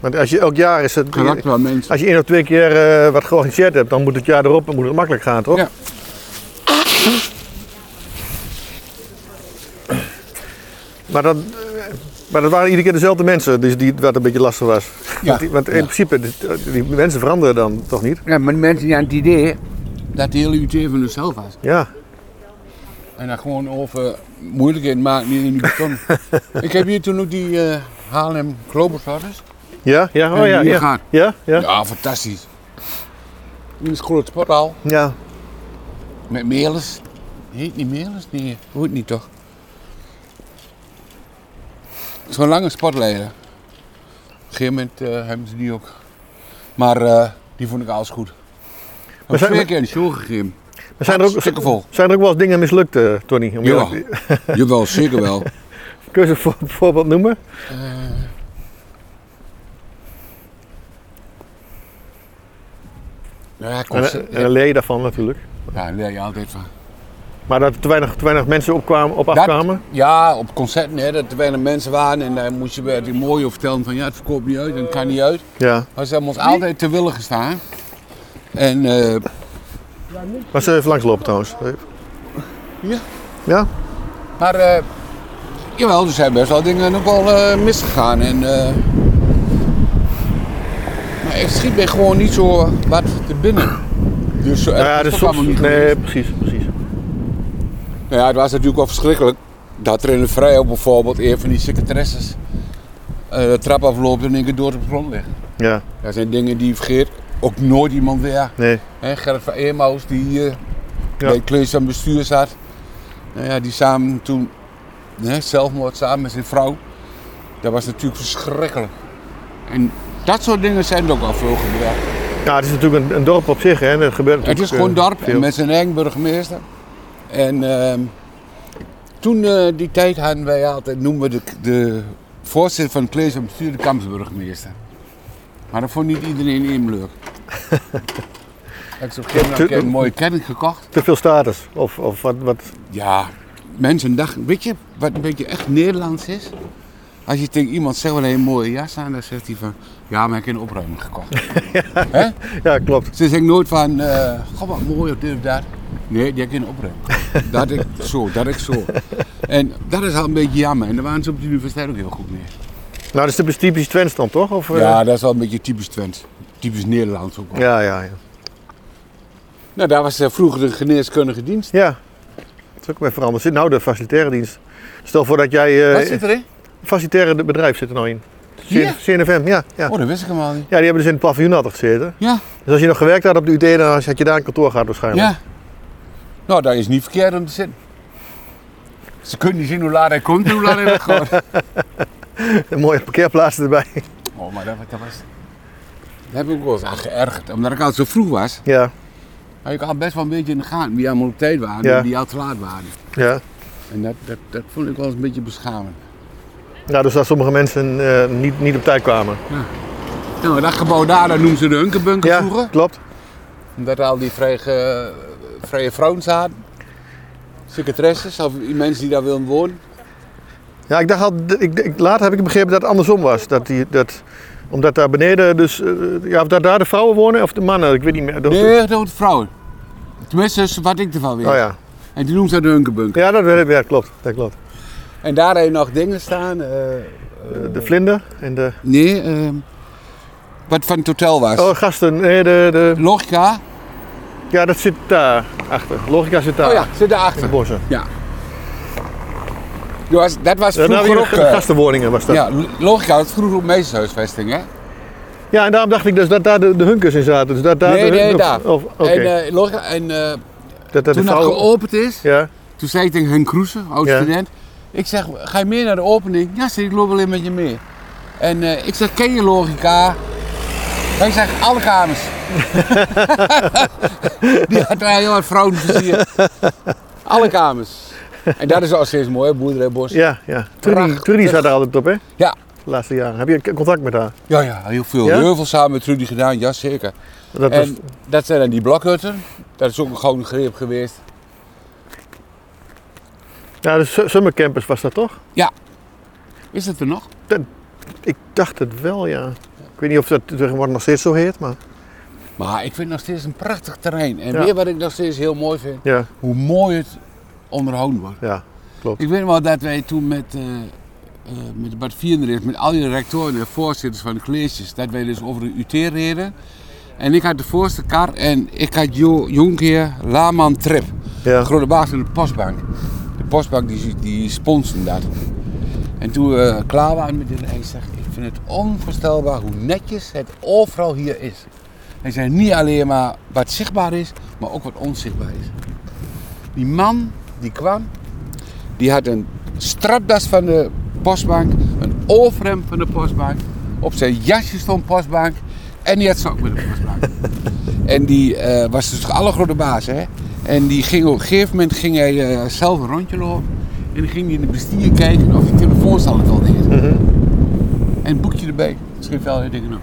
Want als je elk jaar is het.
Karakter aan mensen.
Als je één of twee keer eh, wat georganiseerd hebt, dan moet het jaar erop moet het makkelijk gaan, toch?
Ja.
Maar dat, eh, maar dat waren iedere keer dezelfde mensen, dus die, wat een beetje lastig was.
Ja.
Want, die- want in
Ja.
principe, die, die mensen veranderen dan toch niet?
Ja, maar die mensen die aan het idee dat de hele UT van zichzelf was.
Ja.
En dan gewoon over moeilijkheden maken die in die beton. ik heb hier toen ook die eh Haarlem Globus hadden.
Ja, ja, oh
En
ja.
hier
Ja,
gaat.
ja, ja.
Ja, fantastisch. In de grote sporthal
ja.
met Melis. Heet niet Melis? Nee, hoort niet toch? Zo'n lange sportleider. Op een gegeven moment eh, hebben ze die ook. Maar eh, die vond ik alles goed. Ik heb
zijn-
twee keer een show gegeven.
Maar zijn, er
Stukken
ook,
vol.
zijn er ook wel eens dingen mislukt, eh, Tony? Om
Ja.
je-
Jawel, zeker wel.
Kun je ze voor- een voorbeeld noemen?
Ja,
En,
concert-
en dan leer je daarvan natuurlijk.
ja, daar leer je altijd van.
Maar dat er te weinig, te weinig mensen opkwamen, op afkwamen?
Dat- ja, op concerten, hè, dat er weinig mensen waren. En dan moest je weer die mooie vertellen van ja, het verkoopt niet uit en het kan niet uit.
Ja.
Maar ze hebben ons altijd te willen gestaan. En eh,
Maar ze even langslopen trouwens.
Ja.
Ja?
Maar eh, jawel, er zijn best wel dingen ook wel eh, misgegaan. En, eh, maar ik schiet mij gewoon niet zo wat te binnen. Dus eh,
Nou ja,
dat is
dus
ook
soms,
allemaal niet
nee,
geweest.
precies, precies.
Nou ja, het was natuurlijk wel verschrikkelijk dat er in de vrijheid bijvoorbeeld een van die secretaresses eh, de trap afloopt en in één keer door op de grond ligt.
Ja,
Dat zijn dingen die je vergeet ook nooit iemand weer.
nee.
Hè, Gerrit van Eermaus, die hier
Ja.
bij Kleus aan bestuur zat. Nou ja, die samen toen hè, zelfmoord samen met zijn vrouw. Dat was natuurlijk verschrikkelijk. En dat soort dingen zijn er ook al veel gebeurd.
Ja, het is natuurlijk een, een dorp op zich, hè. en Er
Het
gebeurt
is
natuurlijk,
gewoon
eh,
dorp en
veel.
met zijn eigen burgemeester. En ehm, toen eh, die tijd hadden wij altijd, noemen we de, de voorzitter van het Klees aan bestuur de kampsburgemeester. Maar dat vond niet iedereen even leuk. Ik heb op een gegeven moment een mooie ketting gekocht.
Te veel status. Of, of wat, wat...
Ja, mensen dachten, weet je wat een beetje echt Nederlands is? Als je tegen iemand zegt, wel een mooie jas aan, dan zegt hij van, ja, maar ik heb een opruiming gekocht. Hè?
Ja, klopt.
Ze zeggen nooit van, eh goh, wat mooi of dit of dat. Nee, die heb ik in opruiming gekocht. Dat ik zo, dat ik zo. En dat is al een beetje jammer. En daar waren ze op de universiteit ook heel goed mee.
Nou, dat is typisch- typisch Twents dan, toch? Of, eh,
Ja, dat is wel een beetje typisch Twents. Typisch Nederlands ook wel.
ja, ja, ja.
Nou, daar was eh, vroeger de geneeskundige dienst.
Ja. Dat is ook weer veranderd. Zit nou de facilitaire dienst. Stel voor dat jij... eh
Wat zit erin?
facilitaire bedrijf zit er nou in.
Ja?
CNFM, ja. ja.
Oh, dat wist ik helemaal niet.
Ja, die hebben dus in het paviljoen altijd gezeten.
Ja,
Dus als je nog gewerkt had op de UT, dan had je daar een kantoor gehad waarschijnlijk.
Ja. Nou, dat is niet verkeerd om te zitten. Ze kunnen niet zien hoe laat hij komt en hoe laat hij weggaat.
Een mooie parkeerplaats erbij.
Oh, maar dat, dat was... Daar heb ik ook wel eens aan geërgerd. Omdat ik altijd zo vroeg was,
Ja,
had ik al best wel een beetje in de gaten wie allemaal op tijd waren
Ja.
en die al te laat waren.
ja.
En dat, dat, dat vond ik wel eens een beetje beschamend.
Ja, dus dat sommige mensen eh, niet, niet op tijd kwamen.
Nou, dat gebouw daar, dat noemen ze de Hunkerbunker
Ja,
vroeger.
klopt.
Omdat daar al die vrije, ge- vrije vrouwen zaten. Secretaresses of mensen die daar wilden wonen.
Ja, ik dacht al, ik, ik, later heb ik begrepen dat het andersom was. Dat die, dat, omdat daar beneden dus, eh, ja, of dat daar de vrouwen wonen of de mannen, ik weet niet meer. Dat-
Nee, dat waren vrouwen. Tenminste, dat is wat ik ervan weet.
Oh ja.
En die noemt ze de Hunkerbunker.
Ja, dat, werd- ja, klopt, dat klopt.
En daar heb je nog dingen staan. eh,
De, de vlinder en de...
nee, ehm, wat van het hotel was.
Oh, gasten, nee, de, de...
Logica.
Ja, dat zit daar achter. Logica zit daar.
Oh ja, zit
In de
daarachter.
bossen.
Ja. Dat was, dat was
Ja, nou,
vroeger ook...
hier,
eh,
gastenwoningen was dat. Ja.
ja, Logica had vroeger ook meestershuisvesting, hè?
en daarom dacht ik dus dat daar de, de hunkers in zaten. Dus dat daar
nee,
de
nee,
hun-
daar.
Of, oké.
En, eh, Logica, en eh,
dat, dat de
toen dat
vrouwen-
geopend is,
Ja,
toen zei ik tegen Henk Kroese,
Ja.
oud-student... Ik zeg, ga je mee naar de opening? Ja, zei ik, loop alleen met je mee. En eh, ik zeg, ken je Logica? Hij zegt, alle kamers. Die had daar heel wat vrouwen versierd. Alle kamers. En dat is al steeds mooi, hè, boerderijbos. Ja.
ja, ja. Trudy, Trudy zat daar altijd op, hè?
Ja.
De laatste jaren. Heb je contact met haar?
ja, heel veel.
Ja?
Heel veel samen met Trudy gedaan, ja zeker.
Dat was,
En dat zijn dan die blokhutten. Dat is ook een gouden greep geweest.
ja, de su- summercampus was dat toch?
Is dat er nog?
Ik dacht het wel, ja. Ik weet niet of dat tegenwoordig nog steeds zo heet, maar
Maar ik vind het nog steeds een prachtig terrein. En
Ja.
weer wat ik nog steeds heel mooi vind,
ja,
hoe mooi het onderhouden wordt.
ja,
Ik weet wel dat wij toen met, eh eh met Bart Vierendrecht, met al die rectoren en voorzitters van de colleges, dat wij dus over de UT reden. En ik had de voorste kar en ik had jo Jonkheer Laman Trip. De
ja.
grote baas van de postbank. De postbank die, die sponsorde dat. En toen we klaar waren met dit, hij zegt, ik vind het onvoorstelbaar hoe netjes het overal hier is. Hij zei niet alleen maar wat zichtbaar is, maar ook wat onzichtbaar is. Die man die kwam, die had een strapdas van de postbank, een overhemd van de postbank, op zijn jasje stond postbank en die had sok met de postbank. En die eh, was dus de allergrote baas. Hè? En die ging op een gegeven moment ging hij eh, zelf een rondje lopen. En dan ging hij in de bestier kijken of die telefoons altijd al deed. En een boekje erbij. Schreef wel die dingen op.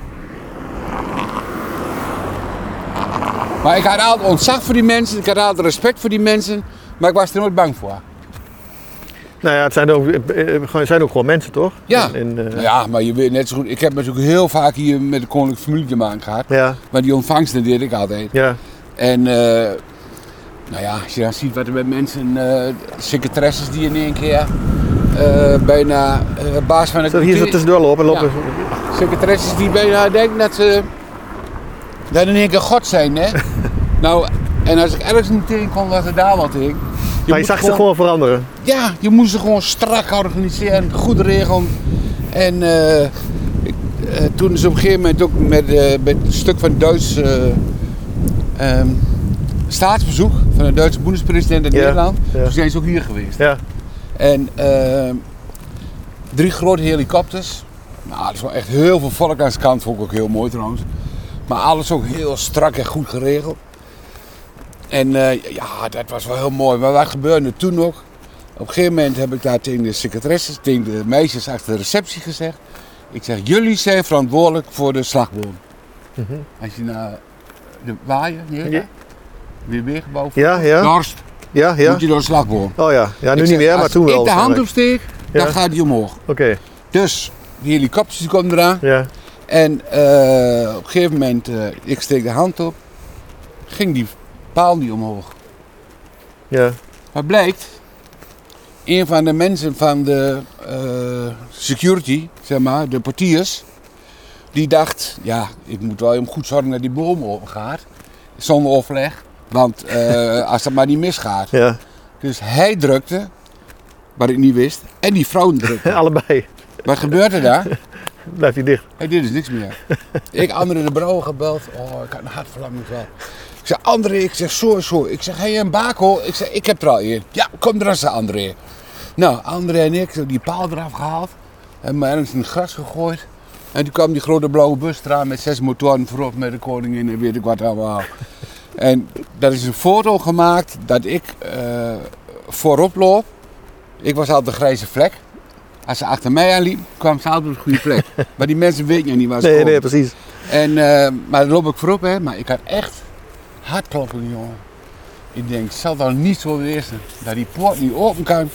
Maar ik had altijd ontzag voor die mensen. Ik had altijd respect voor die mensen. Maar ik was er nooit bang voor.
Nou ja, het zijn ook, eh, eh, gewoon- zijn ook gewoon mensen, toch?
Ja.
En, eh,
Nou ja, maar je weet net zo goed. Ik heb natuurlijk heel vaak hier met de koninklijke familie te maken gehad.
ja,
Maar die ontvangsten deed ik altijd.
ja,
En eh, nou ja, als je dan ziet wat er bij mensen, eh secretaresses die in één keer eh, bijna eh, baas van
Zullen
een
we hier zo tussendoor lopen?
Ja.
lopen?
secretaresses die bijna denken dat ze dat in één keer God zijn, hè? nou, en als ik ergens niet tegenkwam, was er daar wat in. Je
Maar je
moet
zag ze gewoon veranderen.
Ja, je moest ze gewoon strak organiseren, goed regelen. En eh, ik- eh, toen is op een gegeven moment ook met, eh, met een stuk van Duits eh, ehm, staatsbezoek van de Duitse boendespresident in
Ja,
Nederland,
ja.
toen zijn ze ook hier geweest.
Ja,
En ehm, drie grote helikopters. Nou, er is wel echt heel veel volk aan de kant, vond ik ook heel mooi trouwens. Maar alles ook heel strak en goed geregeld. En eh, ja, dat was wel heel mooi. Maar wat gebeurde er toen nog? Op een gegeven moment heb ik daar tegen de secretaresses, tegen de meisjes achter de receptie gezegd. Ik zeg, jullie zijn verantwoordelijk voor de slagboom. Als je naar de waaien, hier,
Mhm. Ja.
weer weergebouw.
ja, ja,
Dorst,
ja, ja.
moet je door de slagboom.
Oh ja, ja nu
Ik
niet
zeg,
meer, maar
als
toen wel.
ik de hand
waarschijnlijk.
opsteek, dan
Ja.
gaat die omhoog.
Oké,
Dus die helikopters die komen eraan.
ja,
En eh, op een gegeven moment, eh, ik steek de hand op, ging die paal niet omhoog.
ja,
Maar blijkt, een van de mensen van de eh, security, zeg maar, de portiers, die dacht, ja, ik moet wel even goed zorgen dat die boom open gaat. Zonder overleg, want eh, als dat maar niet misgaat.
ja.
Dus hij drukte, wat ik niet wist, en die vrouw drukte.
Allebei
Wat gebeurde daar?
blijft hij dicht.
Hey, dit is niks meer. ik André de Brouwer gebeld. Oh, ik had een hartverlamming wel. Ik zei, André, ik zeg, zo, en zo. Ik zeg, hé, hey, een bako. Ik zeg, ik heb er al één. Ja, kom er eens aan, André. Nou, André en ik, zo die paal eraf gehaald. Hebben me ergens in het gras gegooid. En toen kwam die grote blauwe bus eraan met zes motoren voorop met de koningin en weet ik wat allemaal. en dat is een foto gemaakt dat ik eh, voorop loop. Ik was altijd de grijze vlek. Als ze achter mij aanliep, kwam ze altijd op de goede plek. maar die mensen weten nog niet waar ze
Nee,
komen.
nee, precies.
En, eh, maar daar loop ik voorop, hè. Maar ik had echt hartkloppen, jongen. Ik denk, zal dan niet zo wezen dat die poort niet open kan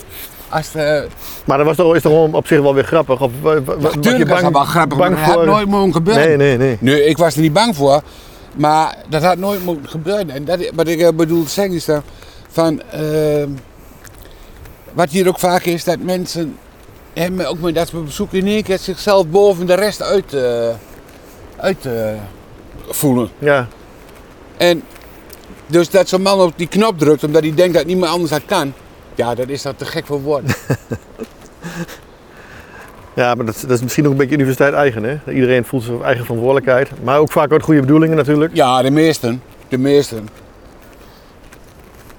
als eh, de...
Maar dat was toch, is toch gewoon op zich wel weer grappig? Of, wa- wa- wa- was je
Tuurlijk was dat wel grappig, maar
bang
dat had
voor-
nooit mogen gebeuren.
Nee, nee, nee.
Nee, ik was er niet bang voor. Maar dat had nooit moeten gebeuren. En dat, wat ik eh, bedoel te zeggen is dan van... ehm, wat hier ook vaak is, dat mensen... hè, maar ook met dat we bezoeken in één keer zichzelf boven de rest uit, eh, uit eh, voelen.
Ja,
En dus dat zo'n man op die knop drukt omdat hij denkt dat niemand anders dat kan. Ja, dat is dat te gek voor woorden.
ja maar dat, is- dat is misschien ook een beetje universiteit eigen, hè? Dat Iedereen voelt zijn eigen verantwoordelijkheid. Maar ook vaak uit goede bedoelingen natuurlijk.
Ja, de meesten. De meesten.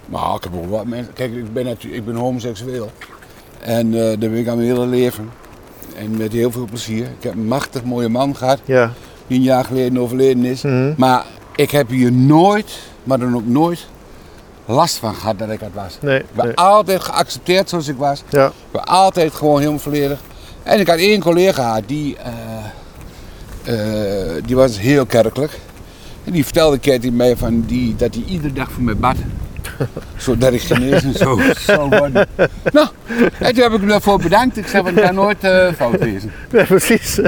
Maar ik heb ook wat mensen. Kijk, ik ben, natu- ik ben homoseksueel. En eh dat ben ik aan mijn hele leven. En met heel veel plezier. Ik heb een machtig mooie man gehad,
Ja,
die een jaar geleden overleden is.
Mhm.
Maar ik heb hier nooit, maar dan ook nooit, last van gehad dat ik dat was.
nee,
Ik ben
nee.
altijd geaccepteerd zoals ik was.
Ja,
Ik ben altijd gewoon helemaal volledig. En ik had één collega die, eh, eh, die was heel kerkelijk. En die vertelde een keer tegen mij van die, dat hij iedere dag voor mij bad. Zodat ik genezen zou zou worden. Nou, en toen heb ik hem daarvoor bedankt. Ik zei, want ik kan nooit eh, fout wezen.
nee precies.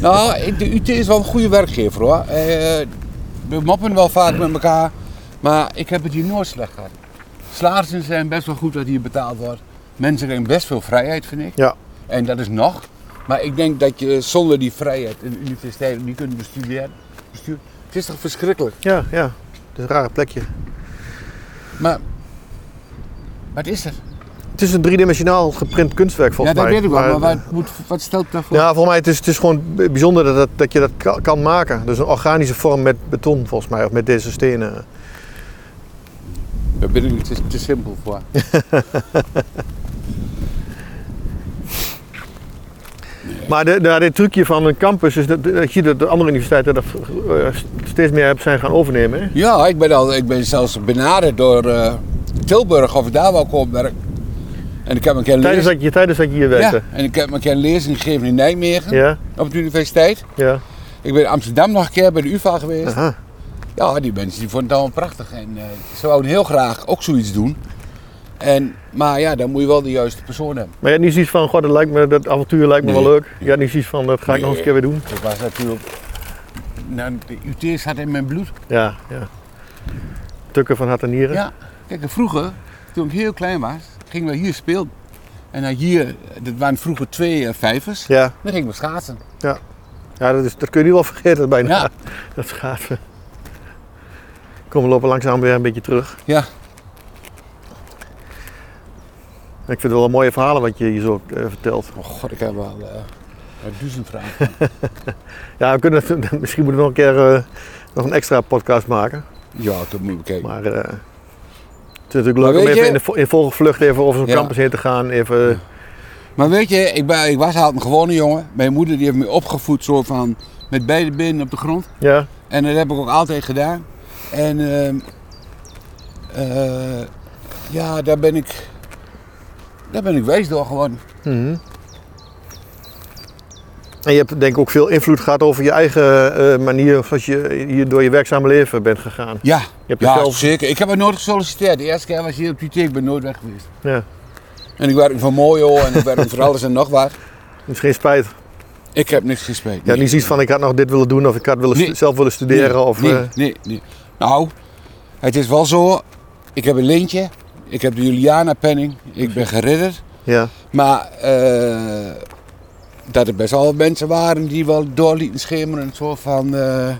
Nou, ik- de UT is wel een goede werkgever hoor. Eh, we moppen wel vaak met elkaar, maar ik heb het hier nooit slecht gehad. Salarissen zijn best wel goed wat hier betaald wordt. Mensen krijgen best veel vrijheid, vind ik.
Ja.
En dat is nog. Maar ik denk dat je zonder die vrijheid een universiteit niet kunt bestuderen. Bestuur, het is toch verschrikkelijk?
Ja, ja. Het is een rare plekje.
Maar wat is er?
Het is een driedimensionaal geprint kunstwerk volgens
ja, dat
mij.
weet ik wel, maar,
Maar-
wat, moet- wat stelt daarvoor?
Ja, volgens mij het is het is gewoon bijzonder dat, dat, dat je dat ka- kan maken. Dus een organische vorm met beton volgens mij, of met deze stenen.
Daar ben ik niet te, te simpel voor.
Maar de, de, dit trucje van een campus is dat, dat je dat de andere universiteiten dat eh, steeds meer hebben zijn gaan overnemen. Hè?
Ja, ik ben, al, ik ben zelfs benaderd door eh, Tilburg of ik daar wel kon werken. En ik heb een keer een
Tijdens,
lezing,
dat je, tijdens dat je hier werkte.
ja, en ik heb een keer een lezing gegeven in Nijmegen
Ja,
op de universiteit.
ja.
Ik ben in Amsterdam nog een keer bij de UvA geweest.
Aha.
Ja, die mensen die vonden het allemaal prachtig. En eh, ze wouden heel graag ook zoiets doen. En, maar ja, dan moet je wel de juiste persoon hebben.
Maar je had niet zoiets van, god, dat, lijkt me, dat avontuur lijkt me
Nee.
wel leuk. Je had niet zoiets van, dat ga ik nog eens een keer weer doen.
Ik was natuurlijk... Nou, de UT zat in mijn bloed.
Ja, ja. Tukken van hart en nieren.
Ja, kijk, en vroeger, toen ik heel klein was, gingen we hier spelen. En dan hier, dat waren vroeger twee eh, vijvers.
ja.
Dan gingen we schaatsen.
Ja, dat, is, dat kun je nu wel vergeten bijna.
Ja.
Dat schaatsen. Kom, we lopen langzaam weer een beetje terug.
Ja.
Ik vind het wel een mooie verhalen wat je hier zo eh, vertelt.
Oh god, ik heb wel eh, een duizend vragen.
Ja, we kunnen, het- misschien moeten we nog een keer eh, nog een extra podcast maken.
ja, dat moet ik bekijken.
Maar eh, het is natuurlijk leuk
Maar
om
weet
even
je-
in, de, vo- in volgevlucht even over zo'n
Ja.
campus heen te gaan. Even,
Maar weet je, ik, ben, ik was altijd een gewone jongen. Mijn moeder die heeft me opgevoed zo van met beide benen op de grond.
ja.
En dat heb ik ook altijd gedaan. En ehm, eh, ja, daar ben ik, daar ben ik wijs door geworden.
Mhm. En je hebt denk ik ook veel invloed gehad over je eigen eh, manier zoals je hier door je werkzame leven bent gegaan.
Ja,
Je hebt er
ja
zelf...
zeker. Ik heb er nooit gesolliciteerd. De eerste keer was hier op die ik ben nooit weg geweest.
Ja,
En ik werk voor Mojo en ik werk voor alles en nog wat.
dus geen spijt.
Ik heb niks gespeeld.
Ja, niet zoiets van ik had nog dit willen doen of ik had willen
Nee.
zelf willen studeren. of,
nee,
eh,
nee, nee. Nou, het is wel zo. Ik heb een lintje. Ik heb de Juliana-penning. Ik ben geridderd.
ja.
Maar eh, dat er best wel mensen waren die wel door lieten schemeren. Zo van... eh, ehm,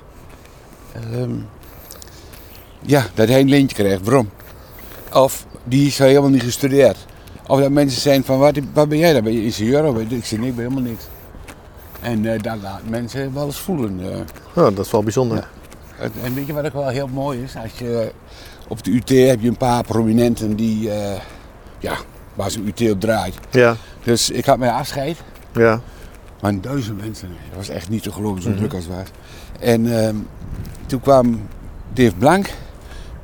ja, dat hij een lintje kreeg. Waarom? Of die is helemaal niet gestudeerd. Of dat mensen zijn van, wat, wat ben jij dan? Ben je ingenieur? Of ben je- Ik zeg, nee, ik ben helemaal niks. En eh dat laat mensen wel eens voelen. eh.
Nou, dat is wel bijzonder. Ja.
Het- En weet je wat ook wel heel mooi is? Als je, op de UT heb je een paar prominenten die, eh, ja, waar ze UT op draait.
Ja.
Dus ik had mijn afscheid.
ja.
Maar een duizend mensen. Mhm. Dat was echt niet te geloven, zo druk als het was. En ehm, toen kwam Dave Blank,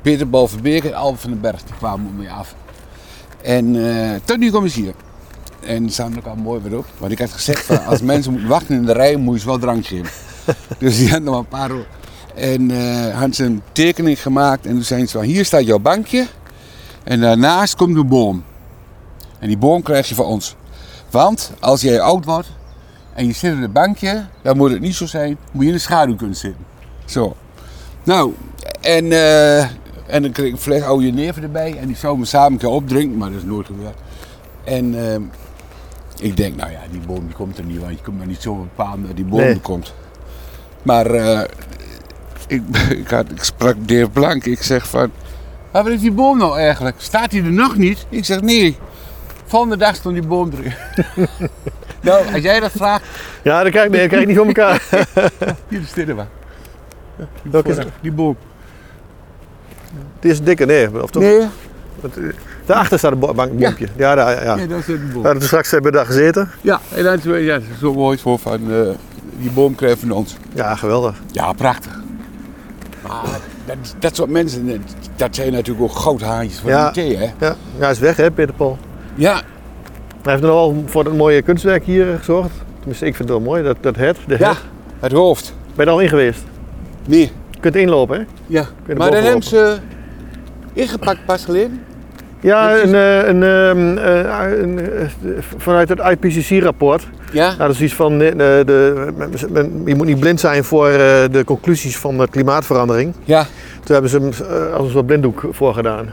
Peter Balverbeek en Albert van den Berg. Die kwamen op mij af. En eh, tot nu kom ik hier. En samen ook al mooi weer op. Want ik had gezegd, van, als mensen moeten wachten in de rij, moet je ze wel drankje in. Dus die hadden nog een paar op. En eh hadden ze een tekening gemaakt. En toen zeiden ze van, hier staat jouw bankje. En daarnaast komt een boom. En die boom krijg je van ons. Want als jij oud wordt, en je zit op een bankje, dan moet het niet zo zijn, moet je in de schaduw kunnen zitten. Zo. Nou, en, eh, en dan kreeg ik een fles oude neven erbij en die zou me samen een keer opdrinken, maar dat is nooit gebeurd. En ehm, ik denk, nou ja, die boom die komt er niet, want je kunt maar niet zo bepalen dat die boom
Nee.
er komt. Maar eh, ik, ik, had, ik sprak Dave Blank, ik zeg van, maar wat is die boom nou eigenlijk? Staat die er nog niet? Ik zeg, nee. Volgende dag stond die boom erin. nou, als jij dat vraagt,
Ja, dat krijg, ik, nee, dat krijg ik niet voor elkaar.
hier is dit er maar.
Welke is
Voordat- Die boom.
Die is dikker, nee. Of toch?
Nee,
Want, eh, Daarachter staat een bo- bankboompje. Ja, daar, ja. ja.
ja, dat is een boom.
Daar hadden we straks eh, hebben we daar gezeten.
Ja, en dan is er- ja, dat is zo mooi voor van eh, die boom krijgen van ons.
Ja, geweldig.
Ja, prachtig. Maar dat, dat soort mensen, dat- dat zijn natuurlijk ook goudhaantjes van
Ja.
de IT, hè?
Ja, ja hij is weg, hè, Peter Paul.
Ja,
Hij heeft nog wel voor dat mooie kunstwerk hier gezorgd. Tenminste, ik vind het wel mooi, dat, dat het. De
ja,
het.
het hoofd.
Ben je er al in geweest?
Nee,
Je kunt inlopen, hè?
ja.
je
Maar dan
bovenop?
hebben ze ingepakt pas geleden.
Ja, een,
dus-
eh, een, ehm, eh, een, eh, vanuit het IPCC-rapport.
Ja?
Nou, dat is iets van, eh, de, de- men- men- je moet niet blind zijn voor eh, de conclusies van de klimaatverandering.
Ja.
Toen hebben ze hem eh, als een soort blinddoek voor gedaan.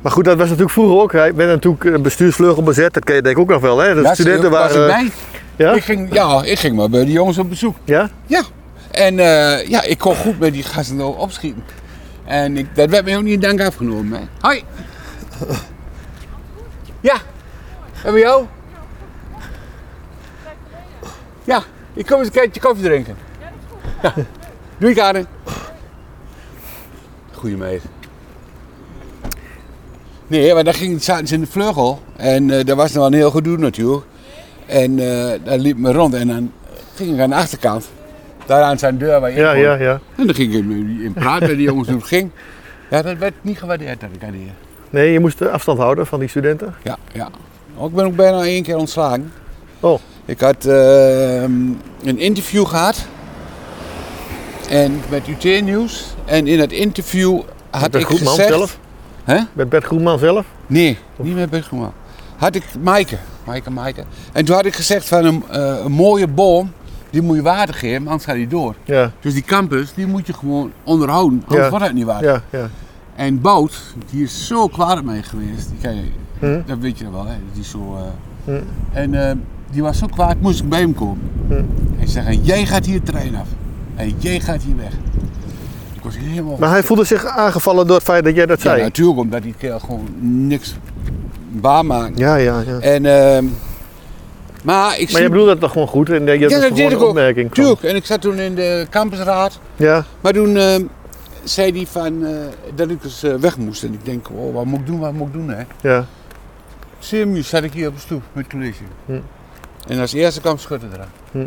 Maar goed, dat was natuurlijk vroeger ook. Ik ben natuurlijk eh, bestuursvleugel bezet, dat ken je denk ik ook nog wel. Hè? De
Ja,
studenten
was
waren...
ik bij.
Ja?
Ik ging, ja, ik ging maar bij de jongens op bezoek.
Ja?
Ja. En eh, ja, ik kon goed met die gasten erop opschieten. En ik, dat werd mij ook niet in dank afgenomen. Hè. Hoi. Ja. En bij jou? Ja. Ik kom eens een keertje koffie drinken. Ja, Doei, Karin. Goeie meid. Nee, maar daar ging, zaten ze in de vleugel. En eh daar was nog wel een heel gedoe natuurlijk. En eh, daar liep me rond. En dan ging ik aan de achterkant. Daar aan zijn deur waar je in
Ja,
kon.
ja, ja.
En dan ging ik in in praten met die jongens hoe het ging. Ja, dat werd niet gewaardeerd dat ik aan die...
Nee, je moest afstand houden van die studenten.
Ja, ja. Oh, Ik ben ook bijna één keer ontslagen.
Oh.
Ik had ehm, een interview gehad. En met UT Nieuws. En in dat interview had
Bert
ik
Groenman
gezegd...
zelf?
Hè?
Met Bert Groenman zelf?
Nee, niet met Bert Groenman. Had ik Maaike. Maaike, Maaike. En toen had ik gezegd van een, eh, een mooie boom, die moet je water geven, anders gaat die door.
Ja,
Dus die campus, die moet je gewoon onderhouden, anders
Ja.
wordt het niet water.
ja, ja.
En Bout, die is zo kwaad op mij geweest. Die ken je,
Hm.
Dat weet je nog wel, hè? Die is zo, eh,
Hm.
En eh, die was zo kwaad, moest ik bij hem komen.
Hm.
Hij zei, "En jij gaat hier de trein af. En jij gaat hier weg. Ik was helemaal...
Maar hij voelde zich aangevallen door het feit dat jij dat
ja, nou,
zei.
natuurlijk, omdat die kerel gewoon niks waarmaakt.
Ja, ja, ja.
En, ehm, maar ik
Maar je
zie...
bedoelde het toch gewoon goed en je
ja,
had dus
dat
gewoon
deed
een
ik ook.
opmerking. van-
Tuurlijk. En ik zat toen in de campusraad.
Ja,
Maar toen ehm, zei hij van, eh, dat ik dus eh, weg moest. En ik denk, oh, wat moet ik doen, wat moet ik doen, hè?
ja.
Zeer muur zat ik hier op de stoep met het college.
Hm.
En als eerste kwam Schutter eraan.
Hm.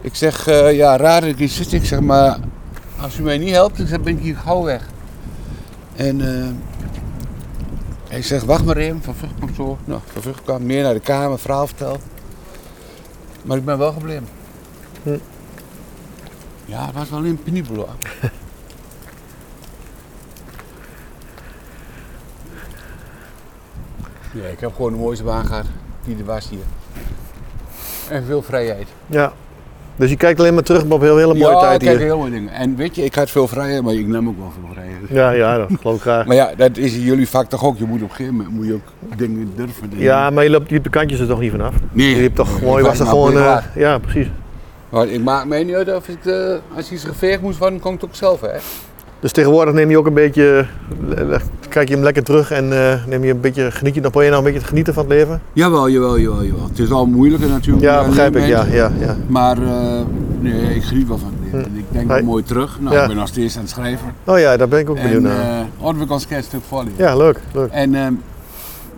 Ik zeg, eh, ja, raar dat ik hier zit. Ik zeg, maar als u mij niet helpt, dan ben ik hier gauw weg. En eh, hij zegt, wacht maar even, Van Vught komt zo. Nou, Van Vught kwam meer naar de kamer, verhaal verteld. Maar ik ben wel gebleven.
Hm.
Ja, het was wel een penibel hoor. Nee, ik heb gewoon de mooiste baan gehad die er was hier. En veel vrijheid.
ja. Dus je kijkt alleen maar terug op heel, hele mooie
ja,
tijd
kijk,
hier.
heel mooie dingen. En weet je, ik had veel vrijheid, maar ik nam ook wel veel vrijheid.
Ja, ja, dat geloof ik graag.
Maar ja, dat is in jullie vak toch ook. Je moet op een gegeven moment moet je ook dingen durven. doen.
Ja, maar je loopt, je hebt de kantjes er toch niet vanaf?
nee.
Je, hebt toch gewoon, je
Ik
was er
nou
gewoon...
prima.
eh, ja, precies.
Maar ik maak mij niet uit of het, eh, als iets geveegd moest worden, kon ik het ook zelf, hè?
Dus tegenwoordig neem je ook een beetje... le- le- Kijk je hem lekker terug en eh, neem je een beetje, geniet je, dan probeer je nou een beetje te genieten van het leven?
Jawel, jawel, jawel, jawel. Het is al moeilijker natuurlijk.
Ja,
op
begrijp
dit
ik. Ja,
moment.
ja, ja.
Maar eh, nee, ik geniet wel van het leven. En Ik denk wel
Hm. Hey.
mooi terug. Nou,
Ja.
ik ben nog steeds aan het schrijven.
Oh ja, daar ben ik ook benieuwd
En
naar.
eh Ordwijk als kerststuk voorlezen.
ja, leuk, leuk.
En ehm,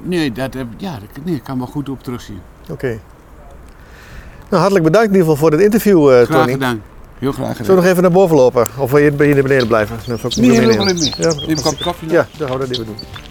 nee, dat, heb- ja, dat- nee, ik kan wel goed op terugzien.
Oké. Nou, hartelijk bedankt in ieder geval voor dit interview, eh
Graag
Tony.
gedaan. Heel graag gedaan.
Zullen we nog even naar boven lopen? Of wil je ben je naar beneden blijven? Dan zal ik
Nee,
hem
doe
meenemen.
maar even mee.
Ja,
Neem een kop koffie.
ja, dan houden we dat even doen.